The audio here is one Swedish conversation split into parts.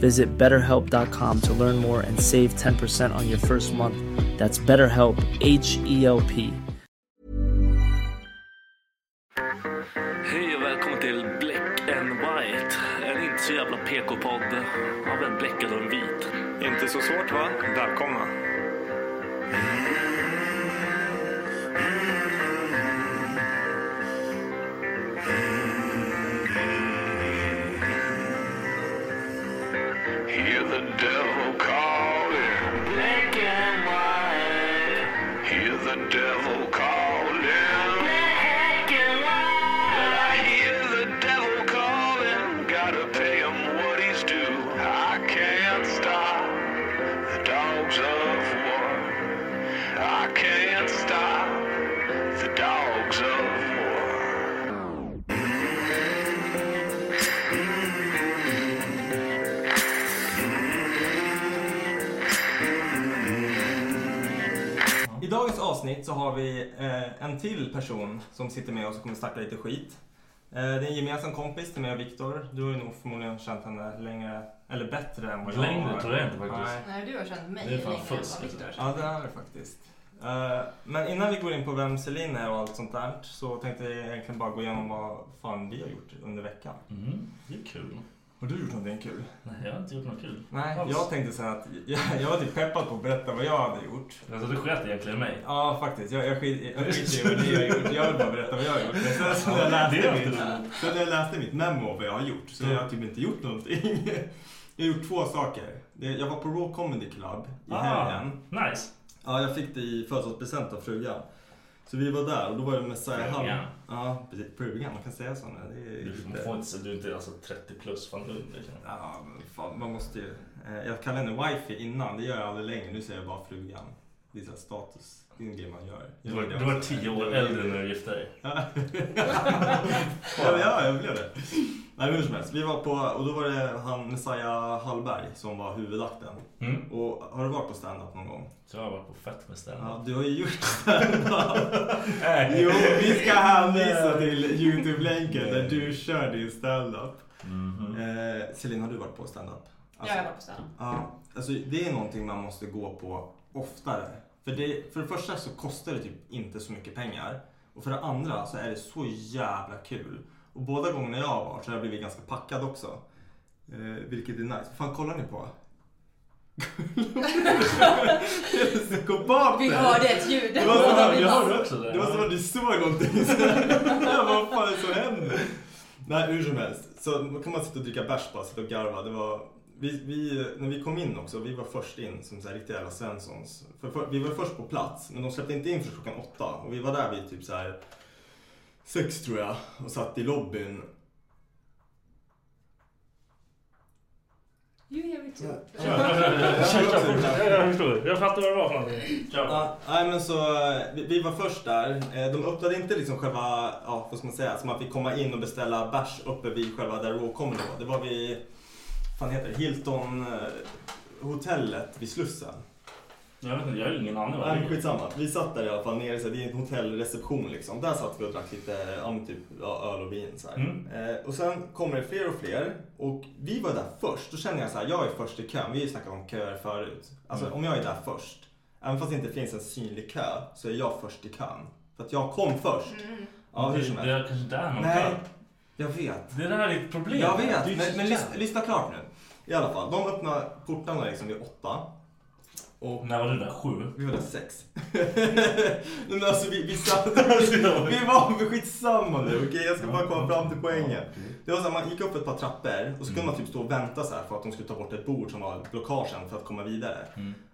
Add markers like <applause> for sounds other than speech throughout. Visit betterhelp.com to learn more and save 10% on your first month. That's BetterHelp, H E L P. Hej och välkommen till Black and White. En inte så jävla PK-podd av en bläckad och en vit. Inte så svårt va? Välkomna. Hear the devil calling. Black and white. Hear the devil calling. Black and white. I hear the devil calling. Gotta pay him what he's due. I can't stop the dogs of war. I can't stop the dogs of war. I dagens avsnitt så har vi eh, en till person som sitter med oss och kommer snacka lite skit. Eh, det är en gemensam kompis till mig och Viktor. Du har ju nog förmodligen känt henne längre, eller bättre än vad jag Längre har. tror jag inte faktiskt. Nej. Nej, du har känt mig Det är fan längre än fusk, vad alltså. Viktor Ja, det är det faktiskt. Eh, men innan vi går in på vem Celine är och allt sånt där så tänkte vi egentligen bara gå igenom vad fan vi har gjort under veckan. Mm, det är kul. Har du gjort någonting kul? Nej, jag har inte gjort något kul. Nej, Alls. jag tänkte sen att jag, jag var typ peppad på att berätta vad jag hade gjort. Alltså du sket egentligen i mig. Ja, faktiskt. Jag, jag skit- <laughs> jag skiter i vad ni har gjort. Jag vill bara berätta vad jag har gjort. Men sen så när jag Det är läste alltid mitt, roligt. sen när jag läste mitt memo vad jag har gjort så har jag typ inte gjort någonting. <laughs> Jag har gjort två saker. Det- Jag var på Raw Comedy Club i helgen. Ah, nice. Ja, jag fick det i födelsedagspresent av frugan. Så vi var där och då var det Messiah Hall. Frugan. Ja, precis. Frugan. Man kan säga så när det är... Du får inte säga du är inte alltså 30 plus. Fan, liksom. du, det känns- Ja, men fan, man måste ju... eh, Jag kallade henne wifi innan, det gör jag aldrig längre. Nu säger jag bara frugan. Det är så här status, det är en grej man gör. du Jag var, gjorde du var också. 10 år äldre när du gifte dig. Ja, ja, men ja, jag blev det. Nej, men hur som helst. Vi var på, och då var det han Messiah Hallberg som var huvudakten. Mm. Och har du varit på standup någon gång? Så jag har varit på fett med stand Ja, du har ju gjort standup. jo, vi ska hänvisa till YouTube-länken där du kör din standup. Eh, Celine, har du varit på standup? Ja, jag var på stan. Ja, alltså det är någonting man måste gå på oftare. För det, för det första så kostar det typ inte så mycket pengar. Och för det andra så är det så jävla kul. Och båda gångerna jag har varit så har jag blivit ganska packad också. Eh, vilket är nice. Vad fan kollar ni <laughs> på? <laughs> Psykopater! Vi hörde ett ljud. Det var som att jag jag- hörde också det. det var som att du såg någonting. Så här, <laughs> Vad fan är det som händer? Nej, hur som helst. Så då kan man sitta och dricka bärs bara, sitta och garva. Det var, vi, vi, när vi kom in också, vi var först in som så här riktiga jävla Svenssons. För, för, vi var först på plats, men de släppte inte in förrän klockan åtta. Och vi var där vid typ så här sex tror jag och satt i lobbyn. You hear it too. Ja. Ja. Kör, kör, fortsätt. Ja, Jag förstår. Jag fattar vad det var för någonting. Kör. Ja, nej men så, eh, vi, vi var först där. Eh, De öppnade inte liksom själva, ja vad ska man säga, som att vi komma in och beställa bärs uppe vid själva där Raw Comedy var. Det var vid, fan heter det, Hilton eh, hotellet vid Slussen. Jag vet inte, jag har ingen aning vad det Nej, är. men skitsamma. Vi satt där i alla fall nere så här, det är en hotellreception liksom. Där satt vi och drack lite ja, men typ, ja, öl och vin. Så här. Mm. Eh, och sen kommer det fler och fler. Och vi var där först. Då känner jag så här, jag är först i kön. Vi har ju snackat om köer förut. Alltså om jag är där först. Även fast det inte finns en synlig kö så är jag först i kön. För att jag kom först. Ja, hur som Det det helst. är kanske där man Nej, kan. jag vet. Det där är ditt problem. Jag Det är vet, ju men, så men jävla- lyssna, lyssna klart nu. I alla fall, de öppnar portarna liksom vid åtta. Och När var du där? Sju? vi var där sex. <laughs> Nej, men alltså vi, vi satt... <laughs> Vi var men skitsamma nu, okej? Jag ska bara komma fram till poängen. Det var så här, man gick upp ett par trappor och så kunde man typ stå och vänta så här för att de skulle ta bort ett bord som var blockagen för att komma vidare.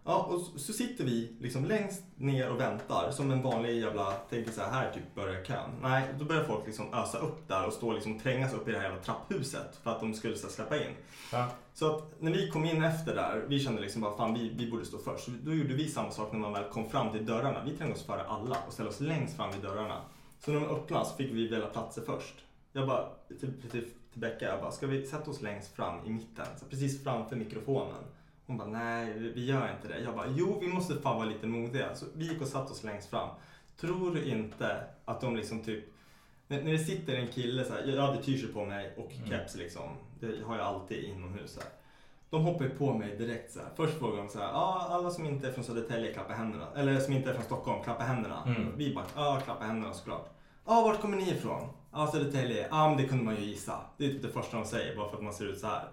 Ja, och så, så sitter vi liksom längst ner och väntar som en vanlig jävla, tänker så här, här typ börjar kön. Nej, då börjar folk liksom ösa upp där och stå liksom trängas upp i det här jävla trapphuset för att de skulle så här, släppa in. Ja. Så att när vi kom in efter där, vi kände liksom bara fan vi, vi borde stå först. Så Då gjorde vi samma sak när man väl kom fram till dörrarna. Vi trängde oss före alla och ställde oss längst fram vid dörrarna. Så när de öppnade så fick vi välja platser först. Jag bara, till, till, till Becka, jag bara, ska vi sätta oss längst fram i mitten? Så precis framför mikrofonen. Hon bara, nej vi- vi gör inte det. Jag bara, jo vi måste fan vara lite modiga. Så vi gick och satte oss längst fram. Tror du inte att de liksom typ när, när det sitter en kille så här, jag hade t-shirt på mig och keps liksom. Det har jag alltid inomhus så här. De hoppar ju på mig direkt så här. Först frågar de så här, ah, alla som inte är från Södertälje klappa händerna. Eller som inte är från Stockholm, klappa händerna. Vi bara, ja klappa händerna såklart. Ja, ah, vart kommer ni ifrån? Ja, ah, Södertälje. Ja, ah, men det kunde man ju gissa. Det är typ det första de säger bara för att man ser ut så här.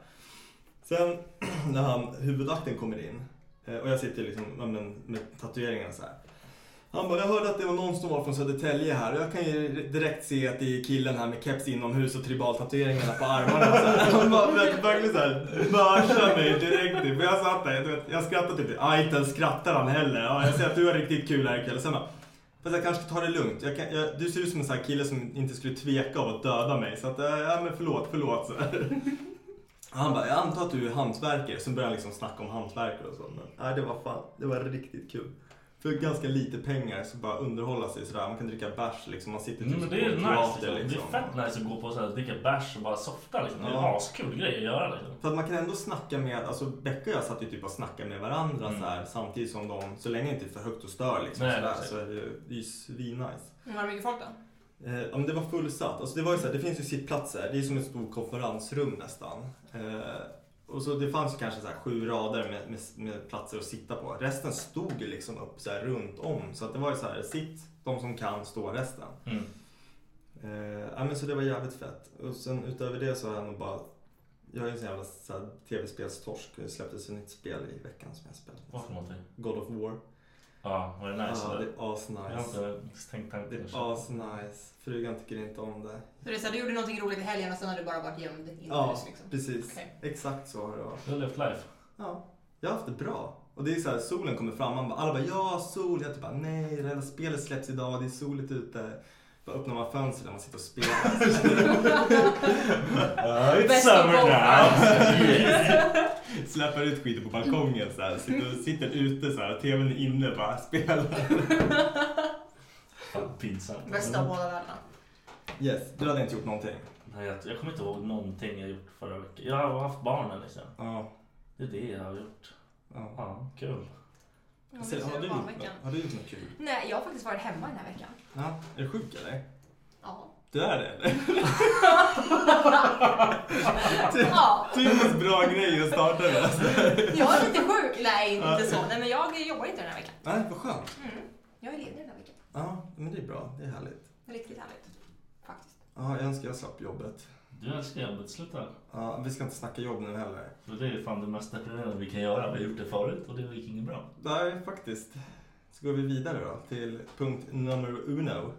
Sen <clears throat> när han, huvudakten kommer in eh, och jag sitter liksom ja, men, med tatueringarna så här. Han bara, jag hörde att det var någon som var från Södertälje här och jag kan ju direkt se att det är killen här med keps inomhus och tribaltatueringarna på armarna. Så här. Han bara ver- verkligen såhär börsar mig direkt. För jag satt där, jag, vet, jag skrattade typ. Ja, inte ens skrattar han heller. Ja, jag ser att du har riktigt kul här ikväll. Och Sen bara, Fast jag kanske ska ta det lugnt. Jag kan, jag, du ser ut som en sån här kille som inte skulle tveka av att döda mig. Så att, eh, ja men förlåt, förlåt. Så här. Han bara, jag antar att du är hantverkare. Så började han liksom snacka om hantverkare och så. Men nej, det var fan, det var riktigt kul. För ganska lite pengar så bara underhålla sig sådär. Man kan dricka bärs liksom. Man sitter Mm, typ men det är på nice. en Liksom. Det är fett nice att gå på så här, dricka bärs och bara softa. Liksom. Det är en Ja. askul grej att göra. Liksom. För att man kan ändå snacka med, alltså Becka och jag satt ju typ och snackade med varandra så här, samtidigt som de, så länge det inte är för högt och stör liksom, Mm. Nej, sådär, precis. så är det, ju- det är ju svinnice. Men Var det mycket folk då? Eh, ja, men det var fullsatt. Alltså det, var ju så här, det finns ju sittplatser. Det är som ett stort konferensrum nästan. Eh, och så det fanns ju kanske så här sju rader med, med, med platser att sitta på. Resten stod ju liksom upp så här runt om. Så att det var ju så här, sitt de som kan, stå resten. Mm. Eh, ja, men så det var jävligt fett. Och sen utöver det så har jag nog bara... Jag är en sån jävla så här, tv-spelstorsk. Det släpptes ett nytt spel i veckan som jag Vad spelat. för någonting? God of War. Ja, var det nice? Ja, eller? det är Jag har asnice. inte misstänkt Det tanken. är asnice. Frugan tycker inte om det. Så det är så här, du gjorde någonting roligt i helgen och sen har du bara varit gömd inomhus Ja, liksom. precis. Okej. Exakt så har det varit. Du har levt life. Ja, jag har haft det bra. Och det är så här, solen kommer fram. Man bara, alla bara ja, sol. Jag typ bara nej, det här spelet släpps idag. Det är soligt ute. Bara öppnar man fönstret när man sitter och spelar. It's Best of summer both now! Yes. Släpper ut skiten på balkongen så här. Sitter, sitter ute så här. TVn är inne bara spelar. Fan, Pinsamt. Bästa av båda världarna. Yes, du hade inte gjort någonting. Nej, jag, jag kommer inte ihåg någonting jag gjort förra veckan. Jag har haft barnen liksom. Ja. Det är det jag har gjort. ja. Ja, kul. Ja, Ser- vi ser har, du gjort barnveckan. något, har du gjort något kul? Nej, jag har faktiskt varit hemma den här veckan. Ja. Är du sjuk eller? Ja. Du är det <laughs> eller? ja. Typiskt bra grej att starta med. Jag är lite sjuk. Nej, inte så. Nej, men jag jobbar inte den här veckan. Nej, vad skönt. Mm. Jag är ledig den här veckan. Ja, men det är bra. Det är härligt. Det är riktigt härligt. Faktiskt. Ja, jag önskar jag slapp jobbet. Du älskar jobbet, sluta. Ja, vi ska inte snacka jobb nu heller. För det är fan det mest deprimerande vi kan göra. Vi har gjort det förut och det gick inget bra. Nej, faktiskt. Så går vi vidare då till punkt nummer uno.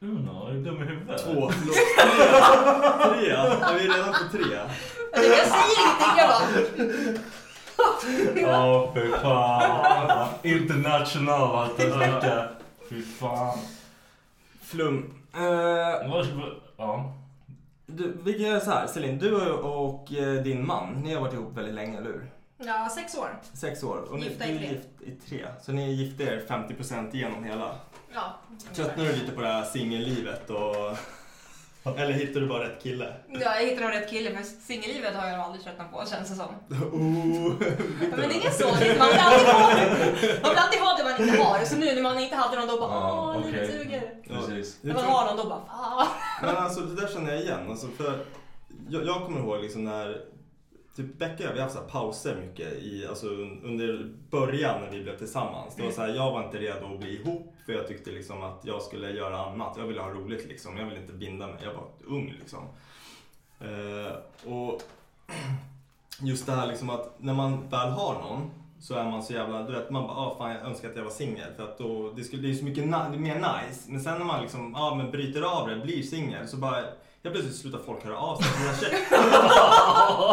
Uno, är du dum i huvudet? Två, förlåt. Tre. Tre. Ja, vi är redan på tre. Jag säger ingenting. Jag bara... Ja, fy fan. International allt det där. Fy fan. Flum. Eh, Vad- vad- Ja. Du, vi kan göra så här, Celine, du och eh, din man, ni har varit ihop väldigt länge, eller hur? Ja, sex år. Sex år. Och ni, Gifta du i är tre. gift i tre. Så ni gifte er 50% igenom hela. Ja. Tröttnar du lite på det här singellivet och... Eller hittar du bara rätt kille? Ja, jag hittade nog rätt kille, men singellivet har jag nog aldrig tröttnat på känns det <laughs> som. Oh, Men det är inget sorgligt, man vill alltid ha det. Man vill alltid ha det man inte har. Så nu när man inte hade någon då bara, Ja, åh, livet okej. suger. Precis. När man har någon då bara, fan. Men alltså det där känner jag igen. Alltså, för jag, jag kommer ihåg liksom när Typ Becka och jag, vi har haft så här pauser mycket i, alltså, un- under början när vi blev tillsammans. Det var så här, jag var inte redo att bli ihop för jag tyckte liksom att jag skulle göra annat. Jag ville ha roligt liksom. Jag ville inte binda mig. Jag var ung liksom. Eh, och <clears throat> just det här liksom att när man väl har någon så är man så jävla, du vet man bara, ah, fan jag önskar att jag var singel för att då, det, skulle, det är ju så mycket na- det är mer nice. Men sen när man liksom, ah, men bryter av det, blir singel så bara, jag plötsligt slutar folk höra av sig till mina <laughs> tjejer.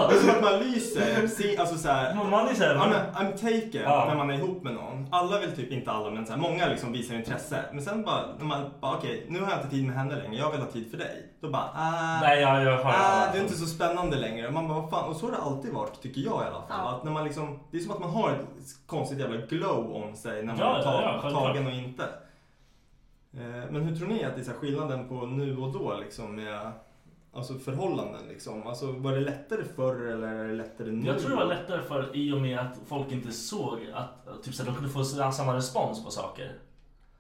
Det är som att man lyser. Si- Alltså såhär. Man är såhär. Ja, men, I'm taken Ja. när man är ihop med någon. Alla vill typ, inte alla men så här, många liksom visar intresse. Men sen bara, när man bara okej nu har jag inte tid med henne längre, jag vill ha tid för dig. Då bara, ah, Nej, jag- jag har- ah, det är inte så spännande längre. Man bara, vad fan. Och så har det alltid varit tycker jag i alla fall. Att när man liksom, det är som att man har ett konstigt jävla glow om sig när man Ja, är ja, tag- ja, självklart. tagen och inte. Eh, Men hur tror ni att det är så här skillnaden på nu och då liksom med alltså förhållanden? Liksom? Alltså, var det lättare förr eller är det lättare nu? Jag tror det var lättare för i och med att folk inte såg att att typ, så här, de kunde få sådär samma respons på saker.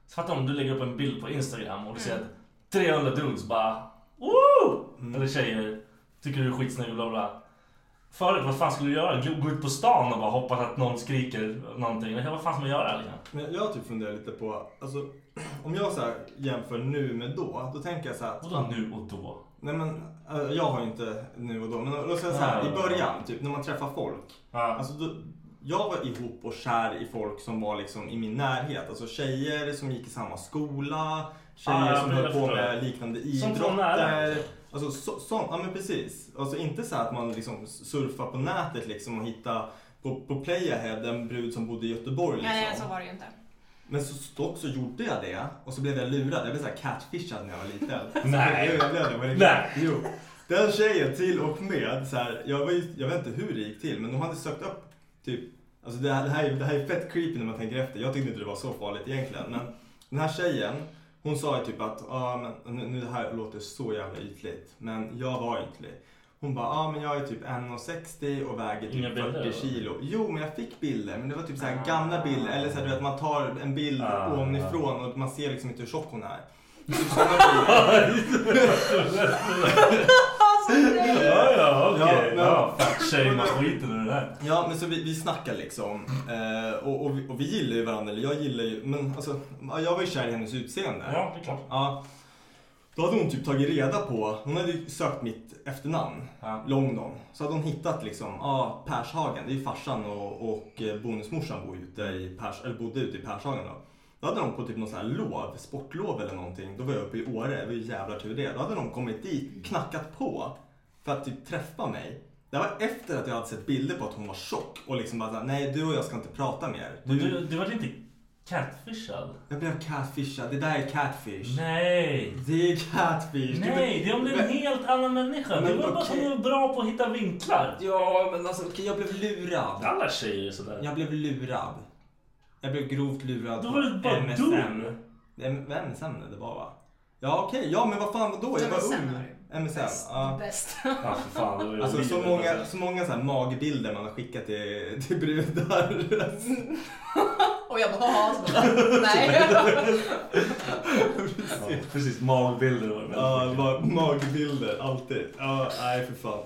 Så Fatta om du lägger upp en bild på Instagram och Mm. du ser att 300 dudes bara Woo! Eller tjejer tycker du är skitsnygg och bla bla. Förut, vad fan skulle du göra? Gå- Gå ut på stan och bara hoppas att någon skriker någonting. Eller Vad fan ska man göra? Liksom? Men jag typ funderar lite på, alltså, <clears throat> om jag så här jämför nu med då, då tänker jag så här. Vadå nu och då? Nej men, eh, jag har ju inte nu och då, men då säger jag så här, Nej. i början, typ när man träffar folk. Alltså, då, jag var ihop och kär i folk som var liksom i min närhet. Alltså tjejer som gick i samma skola, tjejer Ah, ja, som men höll jag på förstår med det. liknande Sånt var nära, idrotter. liksom. Alltså så, sånt, ja men precis. Alltså inte så här att man liksom surfar på nätet liksom och hittar på, på Playahead en brud som bodde i Göteborg liksom. Nej, så var det ju inte. Men så dock så gjorde jag det och så blev jag lurad. Jag blev så här catfishad när jag var liten. Nej. Jo, jag blev det. Var det Nej. Jo. Den tjejen till och med, så här, jag, var ju, jag vet inte hur det gick till, men de hade sökt upp typ, alltså det här, det, här, är- det här är fett creepy när man tänker efter. Jag tyckte inte det var så farligt egentligen. Men den här tjejen, hon sa ju typ att, ah, men, nu, nu det här låter så jävla ytligt, men jag var ytlig. Hon bara, ah, men jag är typ 1,60 och väger Inga typ bilder, 40 eller? kilo. Jo, men jag fick bilder, men det var typ så här gamla bilder, eller så här, du vet, man tar en bild Ah. ovanifrån och man ser liksom inte hur tjock hon är. Ja, ja, okej. men- Ja, Fat-shame-skiten och det där. Ja, men så vi, vi snackar liksom. Eh, och, och, vi, och vi gillar ju varandra, eller jag gillar ju, men alltså, ja, jag var ju kär i hennes utseende. Ja, det är klart. Ja. Då hade hon typ tagit reda på, hon hade ju sökt mitt efternamn, Longdon. Så hade hon hittat liksom, ja, Pershagen, det är ju farsan och, och eh, bonusmorsan bor ju ute i Pers, eller bodde ute i Pershagen då. Då hade de på typ någon sån här lov, sportlov eller någonting, då var jag uppe i Åre, det var ju jävla tur det. Då hade de kommit Mm. dit, knackat på för att typ träffa mig. Det var efter att jag hade sett bilder på att hon var tjock och liksom bara såhär, nej du och jag ska inte prata mer. Men du, du var inte catfishad? Jag blev catfishad, det där är catfish. Nej! Det är catfish. Nej, det blev en helt annan människa. Det Men var bara okej. som du var bra på att hitta vinklar. Ja, men alltså okej, jag blev lurad. Alla tjejer är sådär. Jag blev lurad. Jag blev grovt lurad Då var du bara dum. Det är MSN det var va? Ja okej, ja men vad fan då? Jag var MSN ung. MSN. Ja. Bäst. Ja, för fan. Det var ju Alltså så livet, många, alltså. så många så här magbilder man har skickat till, till brudar. Och jag bara, "Haha", så <laughs> bara, nej. <laughs> Ja, precis, magbilder var det väldigt Ja, mycket. ma- magbilder alltid. Ja, nej för fan.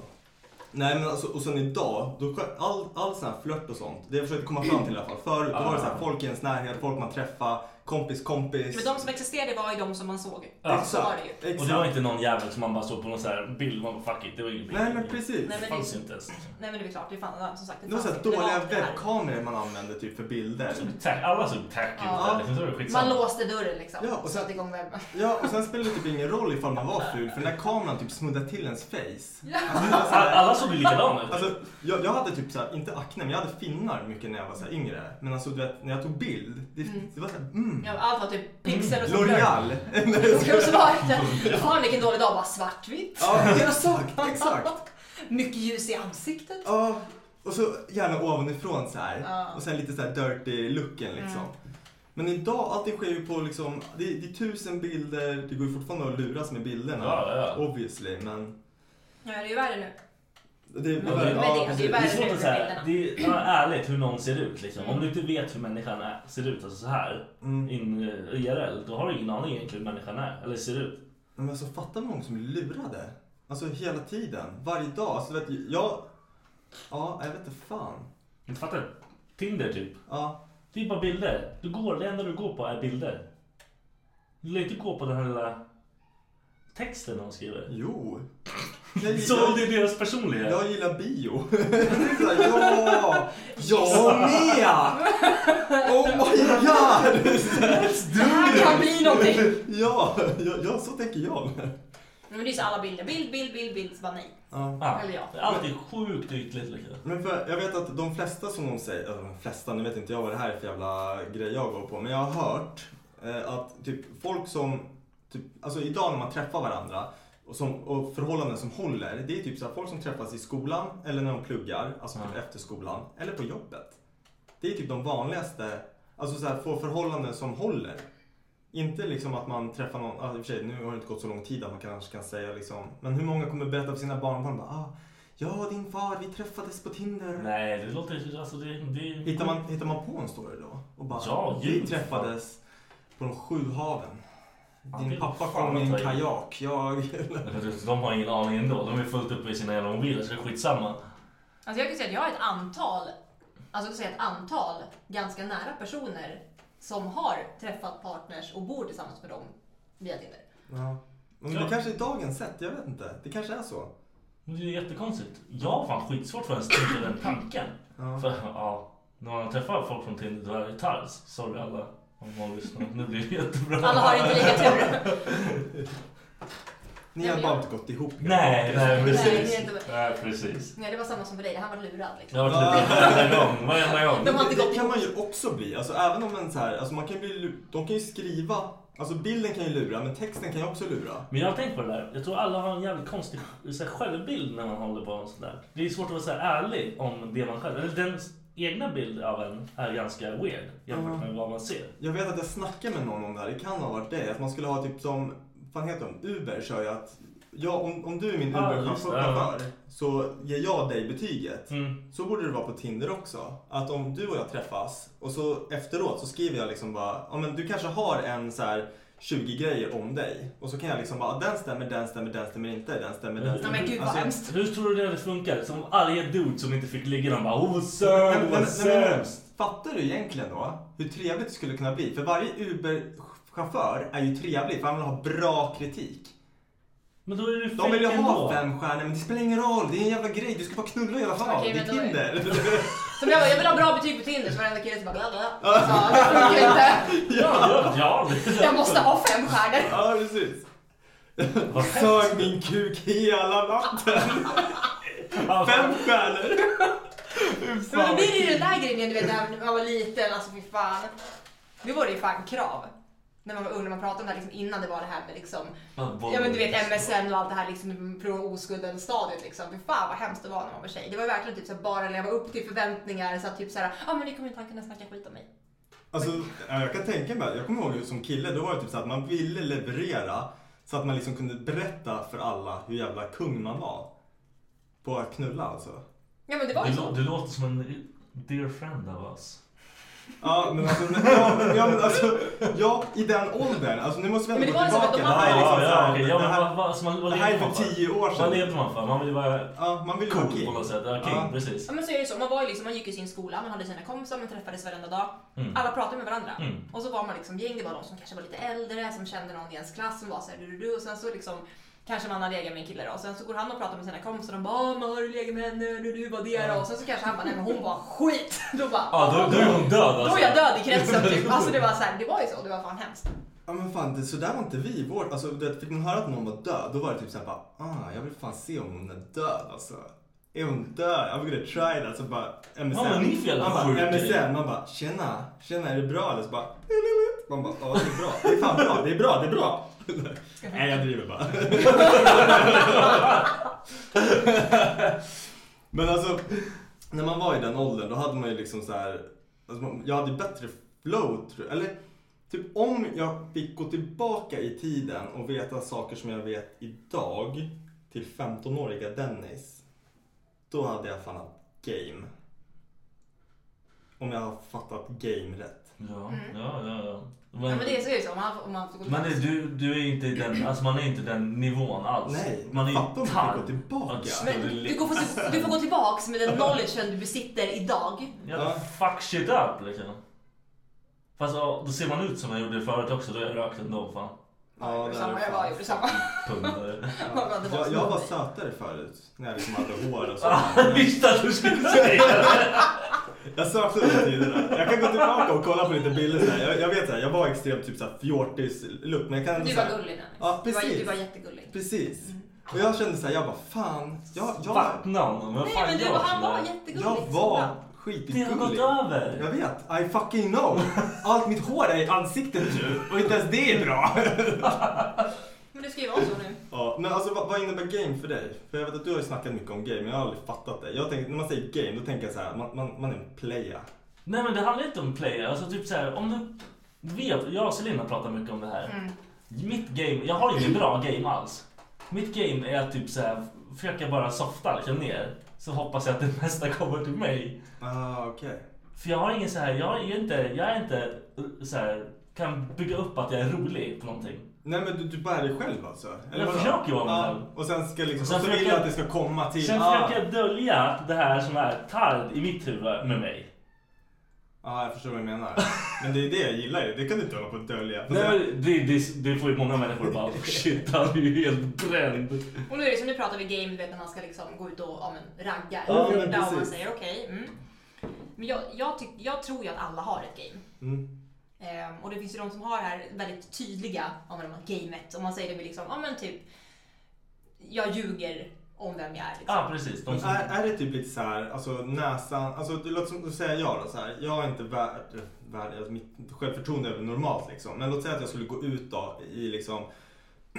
Nej men alltså, och sen idag, då, skö- all, all sån här flört och sånt, det jag försökte komma fram till i alla fall. Förut då var det så Ah. här, folk i ens närhet, folk man träffar, kompis kompis. Men de som existerade var ju de som man såg. Ja. Så var det ju. Och det var inte någon jävel som man bara såg på någon sån här bild. Man bara, fuck it, det var ingen bild. Nej, men precis. Nej, Det men fanns det- inte ens. Nej men det är klart, det är fan som sagt Det var så här fanns inte. dåliga var det här. webbkameror man använde typ för bilder. Tack, alla såg tack ut Ja. där. liksom, så var det Man skitsamma. låste dörren liksom. Ja, Ja, och och sen- satte igång webben. Ja, och sen spelade det typ ingen roll ifall man var ful för den där kameran typ smuddade till ens face. Ja. Alltså, det var så Alla här- alla såg vi likadana ut. Alltså, jag, jag hade typ såhär, inte akne, men jag hade finnar mycket när jag var såhär yngre. Men alltså du vet, när jag tog bild, det, det var såhär, mm. Ja, allt var typ pixel och så L'Oreal. <laughs> blurr. Ska du svara? Fan vilken dålig dag, bara svartvitt. Ja, exakt, exakt. Mycket ljus i ansiktet. Ja, och så gärna ovanifrån så här. Ja. Och sen lite så här dirty looken liksom. Mm. Men idag, allt det sker ju på liksom, det, det är tusen bilder, det går ju fortfarande att luras med bilderna. Ja, ja. Obviously, men. Ja, det är ju värre nu. Det, är- Men det- ja, det är precis. ju Det är värre svårt att nu säga, det är ja, ärligt hur någon ser ut liksom. Mm. Om du inte vet hur människan är, ser ut, alltså så här Mm. in eh, IRL, då har du ingen aning egentligen hur människan är eller ser ut. Men alltså fatta hur många som är lurade. Alltså hela tiden, varje dag. Alltså, du vet, jag, ja, jag vet inte fan. Inte fattar? Tinder typ. Ja. Det är bara bilder. Du går, det enda du går på är bilder. Du lär inte gå på den här lilla texten de skriver. Jo. <laughs> Så det är deras personlighet. Jag gillar bio. <laughs> Det är så här, ja, jag med! Oh my god! Det här kan bli någonting. Ja, ja, ja så tänker jag. Men det är ju så alla bilder. Bild, bild, bild, bild. Så bara nej. Ja. Eller ja. Allt är sjukt ytligt liksom. Men för, jag vet att de flesta som de säger, eller de flesta, nu vet inte jag vad det här är för jävla grej jag går på, men jag har hört eh, att typ folk som, typ, alltså idag när man träffar varandra och, som, och förhållanden som håller, det är typ så här, folk som träffas i skolan eller när de pluggar, alltså typ efter skolan, eller på jobbet. Det är typ de vanligaste, alltså så här, få förhållanden som håller. Inte liksom att man träffar någon, ah, i och för sig, nu har det inte gått så lång tid att man kanske kan säga liksom, men hur många kommer berätta för sina barnbarn bara, ah, ja din far, vi träffades på Tinder. Nej, det låter... Alltså det, det... Hittar man, hittar man på en story då? Och bara, Ja, vi gud. träffades på de sju haven. Ja, det Din är pappa fan kom i en att ta i. kajak. Jag... De har ingen aning ändå. De är fullt uppe i sina jävla mobiler så det är skitsamma. Alltså jag kan säga att jag har ett antal, alltså jag säga ett antal ganska nära personer som har träffat partners och bor tillsammans med dem via Tinder. Ja. Men det Ja. kanske är dagens sätt, jag vet inte. Det kanske är så. Men Det är jättekonstigt. Jag har fan skitsvårt för att ens tänka den tanken. Ja. För ja, när man träffar folk från Tinder då är det tars. Sorry alla om man lyssnar. Nu blir det jättebra. Alla har inte lika tur. Ni har bara inte gått ihop. Nej, nej det är precis. inte- Nej, precis. Nej, det var samma som för dig. Han var lurad liksom. Jag har varit lite <laughs> varenda gång. Varenda gång. De har inte det, gått ihop. det kan man ju också bli. Alltså, även om en så här, alltså, man kan ju bli, lu- de kan ju skriva. Alltså bilden kan ju lura, men texten kan ju också lura. Men jag har tänkt på det där. Jag tror alla har en jävligt konstig så här, självbild när man håller på med sånt där. Det är svårt att vara så här ärlig om det man själv... Eller den egna bild av en är ganska weird jämfört med vad man ser. Jag vet att jag snackade med någon om det här, det kan ha varit det. Att man skulle ha typ som, vad heter de, Uber kör ju att, ja om, om du är min Ja, just det, ja. Uber-chaufför så ger jag dig betyget. Mm. Så borde det vara på Tinder också. Att om du och jag träffas och så efteråt så skriver jag liksom bara, ja men du kanske har en så här 20 grejer om dig. Och så kan jag liksom bara, den stämmer, den stämmer, den stämmer inte, Alltså, den stämmer, Mm. den Nej stämmer. men gud vad hemskt. Hur tror du det hade funkat? Som arga dude som inte fick ligga. De bara "Oh, åh <laughs> Men- sömn, men- vad men- men- sämst. Fattar du egentligen då hur trevligt det skulle kunna bli? För varje Uber-chaufför är ju trevlig för han vill ha bra kritik. Men då är det ju De vill ju fake ändå. ha fem stjärnor men det spelar ingen roll, det är en jävla grej. Du ska bara knulla i alla fall. Okej, det är men då är- Tinder. <laughs> Som jag, bara, jag vill ha bra betyg på Tinder så varenda kille så bara bla bla. bla. Så, det funkar inte. Ja, ja, ja. Jag måste ha fem stjärnor. ja, precis. <laughs> Vad Sög min kuk hela natten. Alltså- Fem stjärnor. Fy Men då fan. blir det ju den där grejen du vet när man var liten, alltså fy fan. Nu var det ju fan krav. När man var ung, när man pratade om det här liksom innan det var det här med liksom, ja men du vet MSN och allt det här liksom från oskulden stadiet liksom. Fy fan vad hemskt det var när man var tjej. Det var ju verkligen typ så här, bara leva upp till förväntningar så att typ så här, ja ah, men ni kommer inte han kunna snacka skit om mig. Alltså, ja, jag kan tänka mig, jag kommer ihåg som kille, då var det typ så att man ville leverera så att man liksom kunde berätta för alla hur jävla kung man var. På att knulla alltså. Ja men det var ju Du, så. lå- du låter som en dear friend av oss. Ja, men alltså, men, ja, men, ja, men, alltså ja, i den åldern. Alltså nu måste vi ändå Men det gå var ju som att tillbaka. de Det här är liksom så här- okej. ja, det men här- vad- vad- alltså, man- vad det här lever är man för tio år sedan. Vad levde man för? Man vill ju vara Ja, man vill ju vara cool king. på något sätt. Ja, king, Ja. precis. Ja men så är det ju så, man var ju liksom, man gick i sin skola, man hade sina kompisar, man träffades varenda dag. Mm. Alla pratade med varandra. Mm. Och så var man liksom gäng, det var de som kanske var lite äldre, som kände någon i ens klass som var såhär du, du, du och sen så liksom kanske man har legat med en kille då och sen så går han och pratar med sina kompisar och de bara "Ah, men har du legat med henne, du, du vad det är då?" och sen så kanske han bara nej men hon var skit. <laughs> Då bara Ja, då, då är hon död alltså. då är jag död i kretsen <laughs> typ. Alltså det var såhär, det var ju så, det var fan hemskt. Ja men fan, det, så där var inte vi i vårt... Alltså, du vet, fick man höra att någon var död, då var det typ såhär bara, ah, jag vill fan se om hon är död alltså. Inte, I'm gonna try that. Så bara MSN. Ja, men ni är för jävla man sjuka. bara, MSN, man bara tjena, tjena är det bra eller? Så bara, man bara, ja det är bra, det är fan bra, det är bra, det är bra. Nej jag driver <laughs> bara. men alltså, när man var i den åldern då hade man ju liksom så här, alltså, man- jag hade ju bättre flow tror jag. Eller typ om jag fick gå tillbaka i tiden och veta saker som jag vet idag till 15-åriga Dennis. Då hade jag fan haft game. Om jag har fattat game rätt. Ja, ja, ja. ja. Mm. Ja, men det är så är det så. Om man, om man får gå Men är tillbaka. du, du är inte i den, alltså man är inte i den nivån alls. Nej, man är ju fatta om du får tarv. gå tillbaka. Men du, går får, du får gå tillbaks med den knowledgen du besitter idag. Jävla fuck shit up liksom. Fast ja, då ser man ut som jag gjorde förut också, då jag rökt ändå fan. Ja, det Samma, jag var ju samma. Pundare. Man bara, det var Jag, jag så. var sötare förut. När jag liksom hade hår och så. <laughs> Jag visste Ah, att du skulle säga det! <laughs> Jag sökte under tiderna. Jag kan gå tillbaka och kolla på lite bilder. Så här. Jag, jag vet att jag var extremt typ så här fjortis-look. Men jag kan ändå Du så här- var gullig Dennis. Ja, du, var, precis. du var jättegullig. Precis. Och jag kände så här, jag bara fan. Jag, jag, Vattna honom, vad Nej fan men du, gör han var sådär? jättegullig. jag var skitgullig. Det har gått över. Jag vet. I fucking know. Allt mitt hår är i ansiktet nu. Och inte ens det är bra. Men det ska ju vara så nu. Ja, men alltså vad, vad innebär game för dig? För jag vet att du har ju snackat mycket om game, men jag har aldrig fattat det. Jag tänker, när man säger game, då tänker jag så här, man, man, man är en playa. Nej men det handlar inte om player. Alltså typ såhär, om du vet, jag och Selina pratar mycket om det här. Mitt game, jag har ingen bra game alls. Mitt game är att typ såhär, försöka bara softa liksom ner. Så hoppas jag att det <laughs> mesta kommer till mig. Ah, okej. För jag har ingen så här, jag är inte, jag är inte eh, så här, kan bygga upp att jag är rolig på någonting. Nej men du, du bär dig själv alltså? Jag vadå? försöker vara mig Ja, själv. Och sen ska liksom, Och sen så vill jag försöker- att det ska komma till... Sen ah. försöker jag dölja det här som är tard i mitt huvud med mig. ah, jag förstår vad du menar. Men det är det jag gillar ju, det kan du inte hålla på att dölja. Nej, men det, det, det får ju många människor bara, "Oh, shit han är ju helt bränd. Och nu är det som nu pratar vi game, du vet när man ska liksom gå ut och ja, men, ragga Ja, eller men runda och man precis. säger okej. mm. Men jag, jag, tyck, jag tror ju att alla har ett game. Mm. Ehm, och det finns ju de som har det här väldigt tydliga, ja men de har gamet. Om man säger det med liksom, ja men typ, jag ljuger om vem jag är. Liksom. Ja precis, de som Är, är det typ lite så här, alltså näsan, alltså det låter som, då säger jag då så här, jag är inte värd, värd alltså, mitt självförtroende är väl normalt liksom. Men låt säga att jag skulle gå ut då i liksom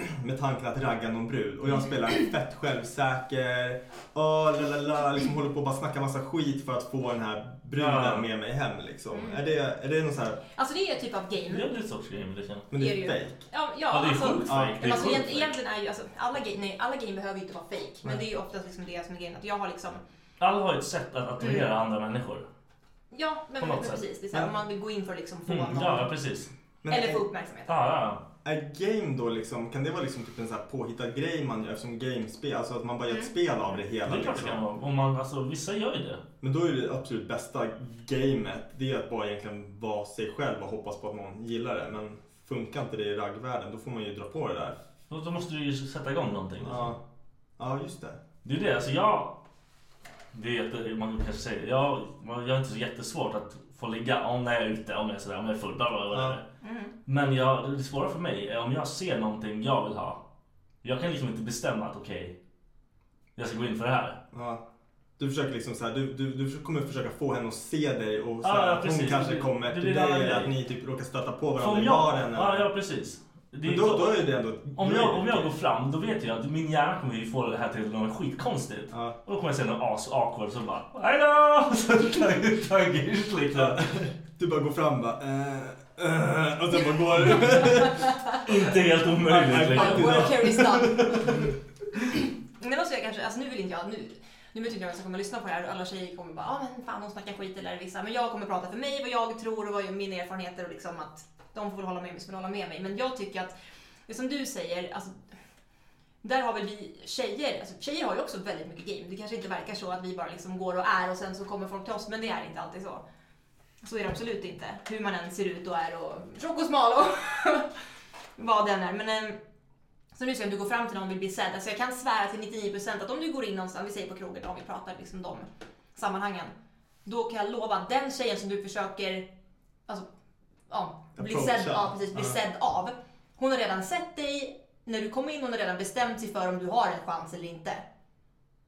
<clears throat> med tanken att ragga någon brud och jag Mm. spelar fett självsäker, oh, la, la, la, liksom håller på och bara snacka massa skit för att få den här Ja. Mm. bruden med mig hem liksom. Är, det, är det någon så här, Alltså det är typ av Det game. är en sorts game liksom. men det Är det är ju. fejk? Ja, ja, Ja, det är alltså, sjukt fake. Det är Alltså, sjukt egent- fake. egentligen är ju, alltså, alla, game, nej, alla game behöver ju inte vara fake. Men Nej. det är ju oftast liksom det som är grejen. Att jag har liksom, Mm. Alla har ju ett sätt att attrahera andra människor. ja men, På men något sätt. precis. Det är så här, om man vill gå in för att liksom få Mm, någon. ja, ja, precis. Men Eller få är, uppmärksamhet. Ja, ja. är game då liksom, kan det vara liksom typ en så här påhittad grej man gör som gamespel? Alltså att man bara gör ett spel av det hela liksom? Det är klart det kan vara. Om man, alltså, vissa gör ju det. Men då är det absolut bästa gamet, det är att bara egentligen vara sig själv och hoppas på att någon gillar det. Men funkar inte det i raggvärlden, då får man ju dra på det där. Då, då måste du ju sätta igång någonting. Liksom. Ja, ja just det. Det är det, alltså jag... Det är jätte, man kanske säger, jag, jag är inte så jättesvårt att få ligga om när jag är ute, om jag är sådär, om jag är full, bla bla bla. Men jag, det svåra för mig är om jag ser någonting jag vill ha. Jag kan liksom inte bestämma att okej, jag ska gå in för det här. Ja. Du försöker liksom så här, du, du, du kommer försöka få henne att se dig och så Ja, här, ja, hon precis. kanske Det- kommer det till blir en dig, annan att ni grej. typ råkar stöta på För varandra om i jag, baren. ja, eller- ja precis. Det är Men ju då, så- då är det ändå... Om då är jag, det- om jag går fram då vet jag att min hjärna kommer ju få det här till något skitkonstigt. Ja. Och då kommer jag säga något as awkward så bara Hej då! <laughs> Så tar jag ut liksom. Du bara går fram och bara... Eh, eh, och sen bara går du. <laughs> Inte helt omöjligt liksom. Ja. Work here is done. Men det måste jag kanske, alltså nu vill inte jag, nu, nu vet inte jag vem som kommer lyssna på det här och alla tjejer kommer bara, ja ah, men fan hon snackar skit eller vissa. Men jag kommer prata för mig, vad jag tror och vad mina erfarenheter och liksom att de får väl hålla med mig som vill hålla med mig. Men jag tycker att, det som du säger, alltså där har väl vi tjejer, alltså tjejer har ju också väldigt mycket game. Det kanske inte verkar så att vi bara liksom går och är och sen så kommer folk till oss, men det är inte alltid så. Så är det absolut inte. Hur man än ser ut och är och tjock och smal och <laughs> vad den är. Men ehm, eh, så nu ska du gå fram till någon och vill bli sedd. Alltså jag kan svära till 99% att om du går in någonstans, vi säger på krogen, om vi pratar liksom de sammanhangen. Då kan jag lova att den tjejen som du försöker alltså, ja, bli, Approacha. sedd, ja, precis, bli Ja. sedd av. Hon har redan sett dig när du kom in, hon har redan bestämt sig för om du har en chans eller inte.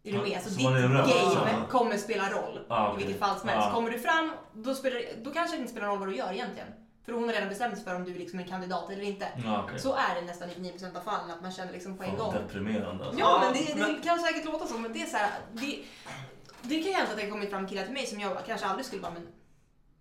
Är du med? Så, Så ditt man är röd. game Ja. kommer spela roll. Ja, okej. I vilket fall som helst. Ja. Kommer du fram, då, spelar, då kanske det inte spelar någon roll vad du gör egentligen. För hon har redan bestämt sig för om du är liksom en kandidat eller inte. Ja, okej. Så är det nästan 99% av fallen, att man känner liksom på en Fan, gång. deprimerande alltså. Ja, men det, det kan säkert låta så, men det är så här, det, det kan ju hända att det har kommit fram killar till mig som jag kanske aldrig skulle bara, men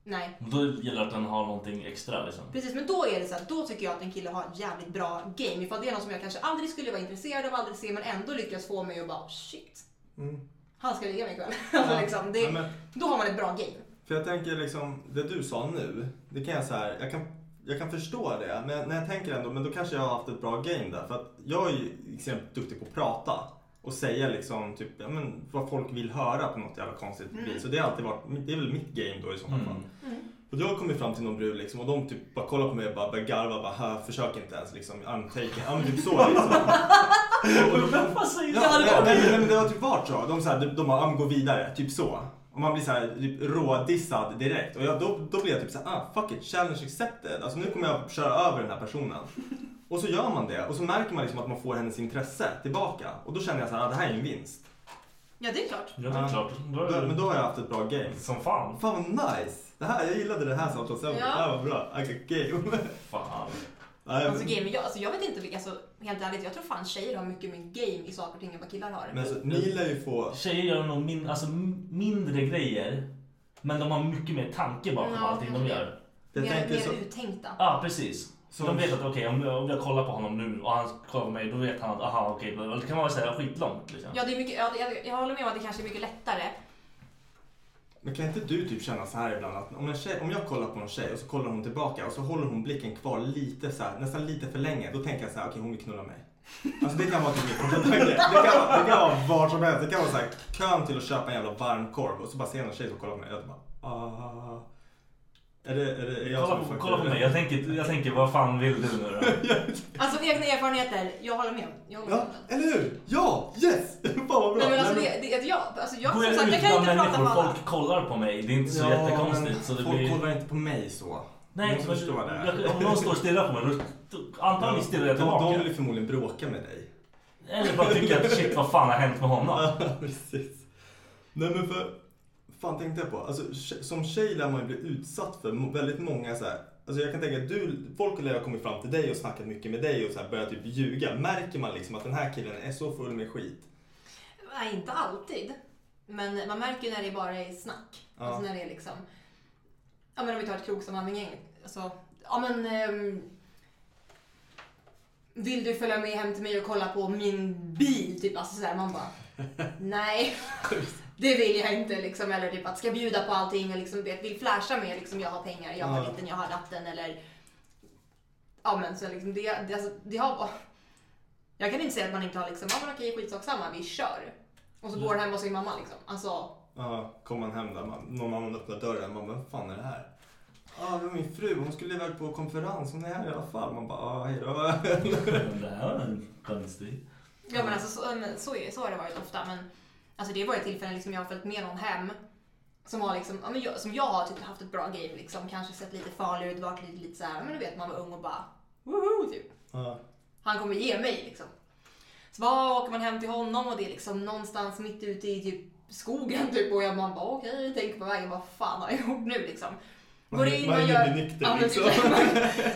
nej. Men Då gäller det att den har någonting extra liksom. Precis, men då är det så här, då tycker jag att en kille har ett jävligt bra game. Ifall det är någon som jag kanske aldrig skulle vara intresserad av, aldrig se, men ändå lyckas få mig att bara shit, Mm. han ska ligga mig ikväll. <laughs> Alltså, liksom, det, Nej, men- då har man ett bra game. För jag tänker liksom, det du sa nu, det kan jag så här, jag kan, jag kan förstå det. Men när jag tänker ändå, men då kanske jag har haft ett bra game där. För att jag är ju extremt duktig på att prata. Och säga liksom typ, ja, men, vad folk vill höra på något jävla konstigt Mm. vis. Och det har alltid varit, det är väl mitt game då i sådana fall. Mm. Och jag kommer fram till någon brud liksom, och de typ bara kollar på mig och bara börjar garva. Bara, "Hä, försök inte ens liksom, I'm taken. Ja men typ så liksom. Ja, nej, nej, nej, men det har typ varit så. De, så här, de, de bara, "Ja, men gå vidare, typ så. Och man blir så här, typ, rådissad direkt. Och jag, då, då blir jag typ så här, ah, fuck it, challenge accepted. Alltså nu kommer jag köra över den här personen. Och så gör man det och så märker man liksom att man får hennes intresse tillbaka. Och då känner jag så här, ah, det här är en vinst. Ja, det är klart. klart. Då är Då, det- men då har jag haft ett bra game. Som fan. Fan vad nice. Det här, jag gillade det här samtalsämnet. Ja. Det här var bra. Okay, game. Fan. Nej, men- Alltså, game, jag, alltså, jag vet inte, vilka- alltså, helt ärligt, jag tror fan tjejer har mycket mer game i saker och ting än vad killar har. Men alltså, ni lär ju få... Tjejer gör nog min, alltså, m- mindre grejer. Men de har mycket mer tanke bakom Ja, allting de gör. mer mer uttänkta. Ja, precis. Så Som- de vet att okej, om, jag- om jag kollar på honom nu och han kollar på mig, då vet han att aha, okej, bla, bla. det kan vara så här skitlångt liksom. Ja, det är mycket, ja, det- jag, jag håller med om att det kanske är mycket lättare. Men kan inte du typ känna så här ibland att om, en tjej, om jag kollar på en tjej och så kollar hon tillbaka och så håller hon blicken kvar lite så här, nästan lite för länge. Då tänker jag så här, okej hon vill knulla mig. Alltså det kan vara typ min första tanke. Det kan, det kan vara var som helst. Det kan vara så här kön till att köpa en jävla varm korv och så bara ser jag en tjej som kollar på mig och jag bara ah. Är det, är det är jag Kolla som är på, fucked? kolla på mig, jag tänker, jag tänker vad fan vill du nu då? Alltså egna erfarenheter, jag håller med. Jag håller med. Ja, eller hur? Ja, yes! <laughs> Fan vad bra. Nej, men alltså, Nej, det, det, jag, alltså, jag, Går som jag sagt, jag ut kan bland inte prata med människor, alla. folk kollar på mig. Det är inte så Ja, jättekonstigt. men Så det folk blir... kollar inte på mig så. Nej, Du måste men- förstå det. jag- om någon står och stirrar på mig, då antagligen stirrar jag De- tillbaka. De vill ju förmodligen bråka med dig. <laughs> Eller bara tycker att shit, vad fan har hänt med honom? Ja, precis. Nej men för, fan tänkte jag på. Alltså, tje- som tjej lär man ju bli utsatt för mo- väldigt många så här. Alltså jag kan tänka att du, folk lär ha kommit fram till dig och snackat mycket med dig och så här börjat typ ljuga. Märker man liksom att den här killen är så full med skit? Nej, inte alltid. Men man märker ju när det bara är snack. Ja. Alltså när det är liksom... Ja, men om vi tar ett krogsammanhang. Alltså, ja men... ehm, vill du följa med hem till mig och kolla på min bil? Typ alltså sådär. Man bara... Nej. Det vill jag inte liksom. Eller typ att ska bjuda på allting och liksom vet, vill flasha med liksom jag har pengar, jag har Ja. liten, jag har ratten eller... Ja men så liksom det, det, alltså, det har... Jag kan inte säga att man inte har liksom, ja men okej skitsak samma, vi kör. Och så går den hem hos sin mamma liksom. Alltså, Ja, kom man hem där, man, någon annan öppnar dörren. Man bara, vad fan är det här? Ja, ah, det var min fru. Hon skulle iväg på konferens. Hon är här i alla fall. Man bara, ah, hej då. Det här var en konstig. ja men alltså så, men så, är- så har det varit ofta. Men alltså det har varit tillfällen liksom jag har följt med någon hem. Som har liksom, ja, men jag, som jag har typ haft ett bra game liksom. Kanske sett lite farlig ut, varit lite, lite så här, men du vet man var ung och bara woho typ. Ja. Han kommer ge mig liksom. Så bara åker man hem till honom och det är liksom någonstans mitt ute i typ skogen typ och jag man bara okej, tänker på vägen, vad fan har jag gjort nu liksom? Man- Går in, man man, är gör... nykter, ja, men typ, liksom. man, <laughs>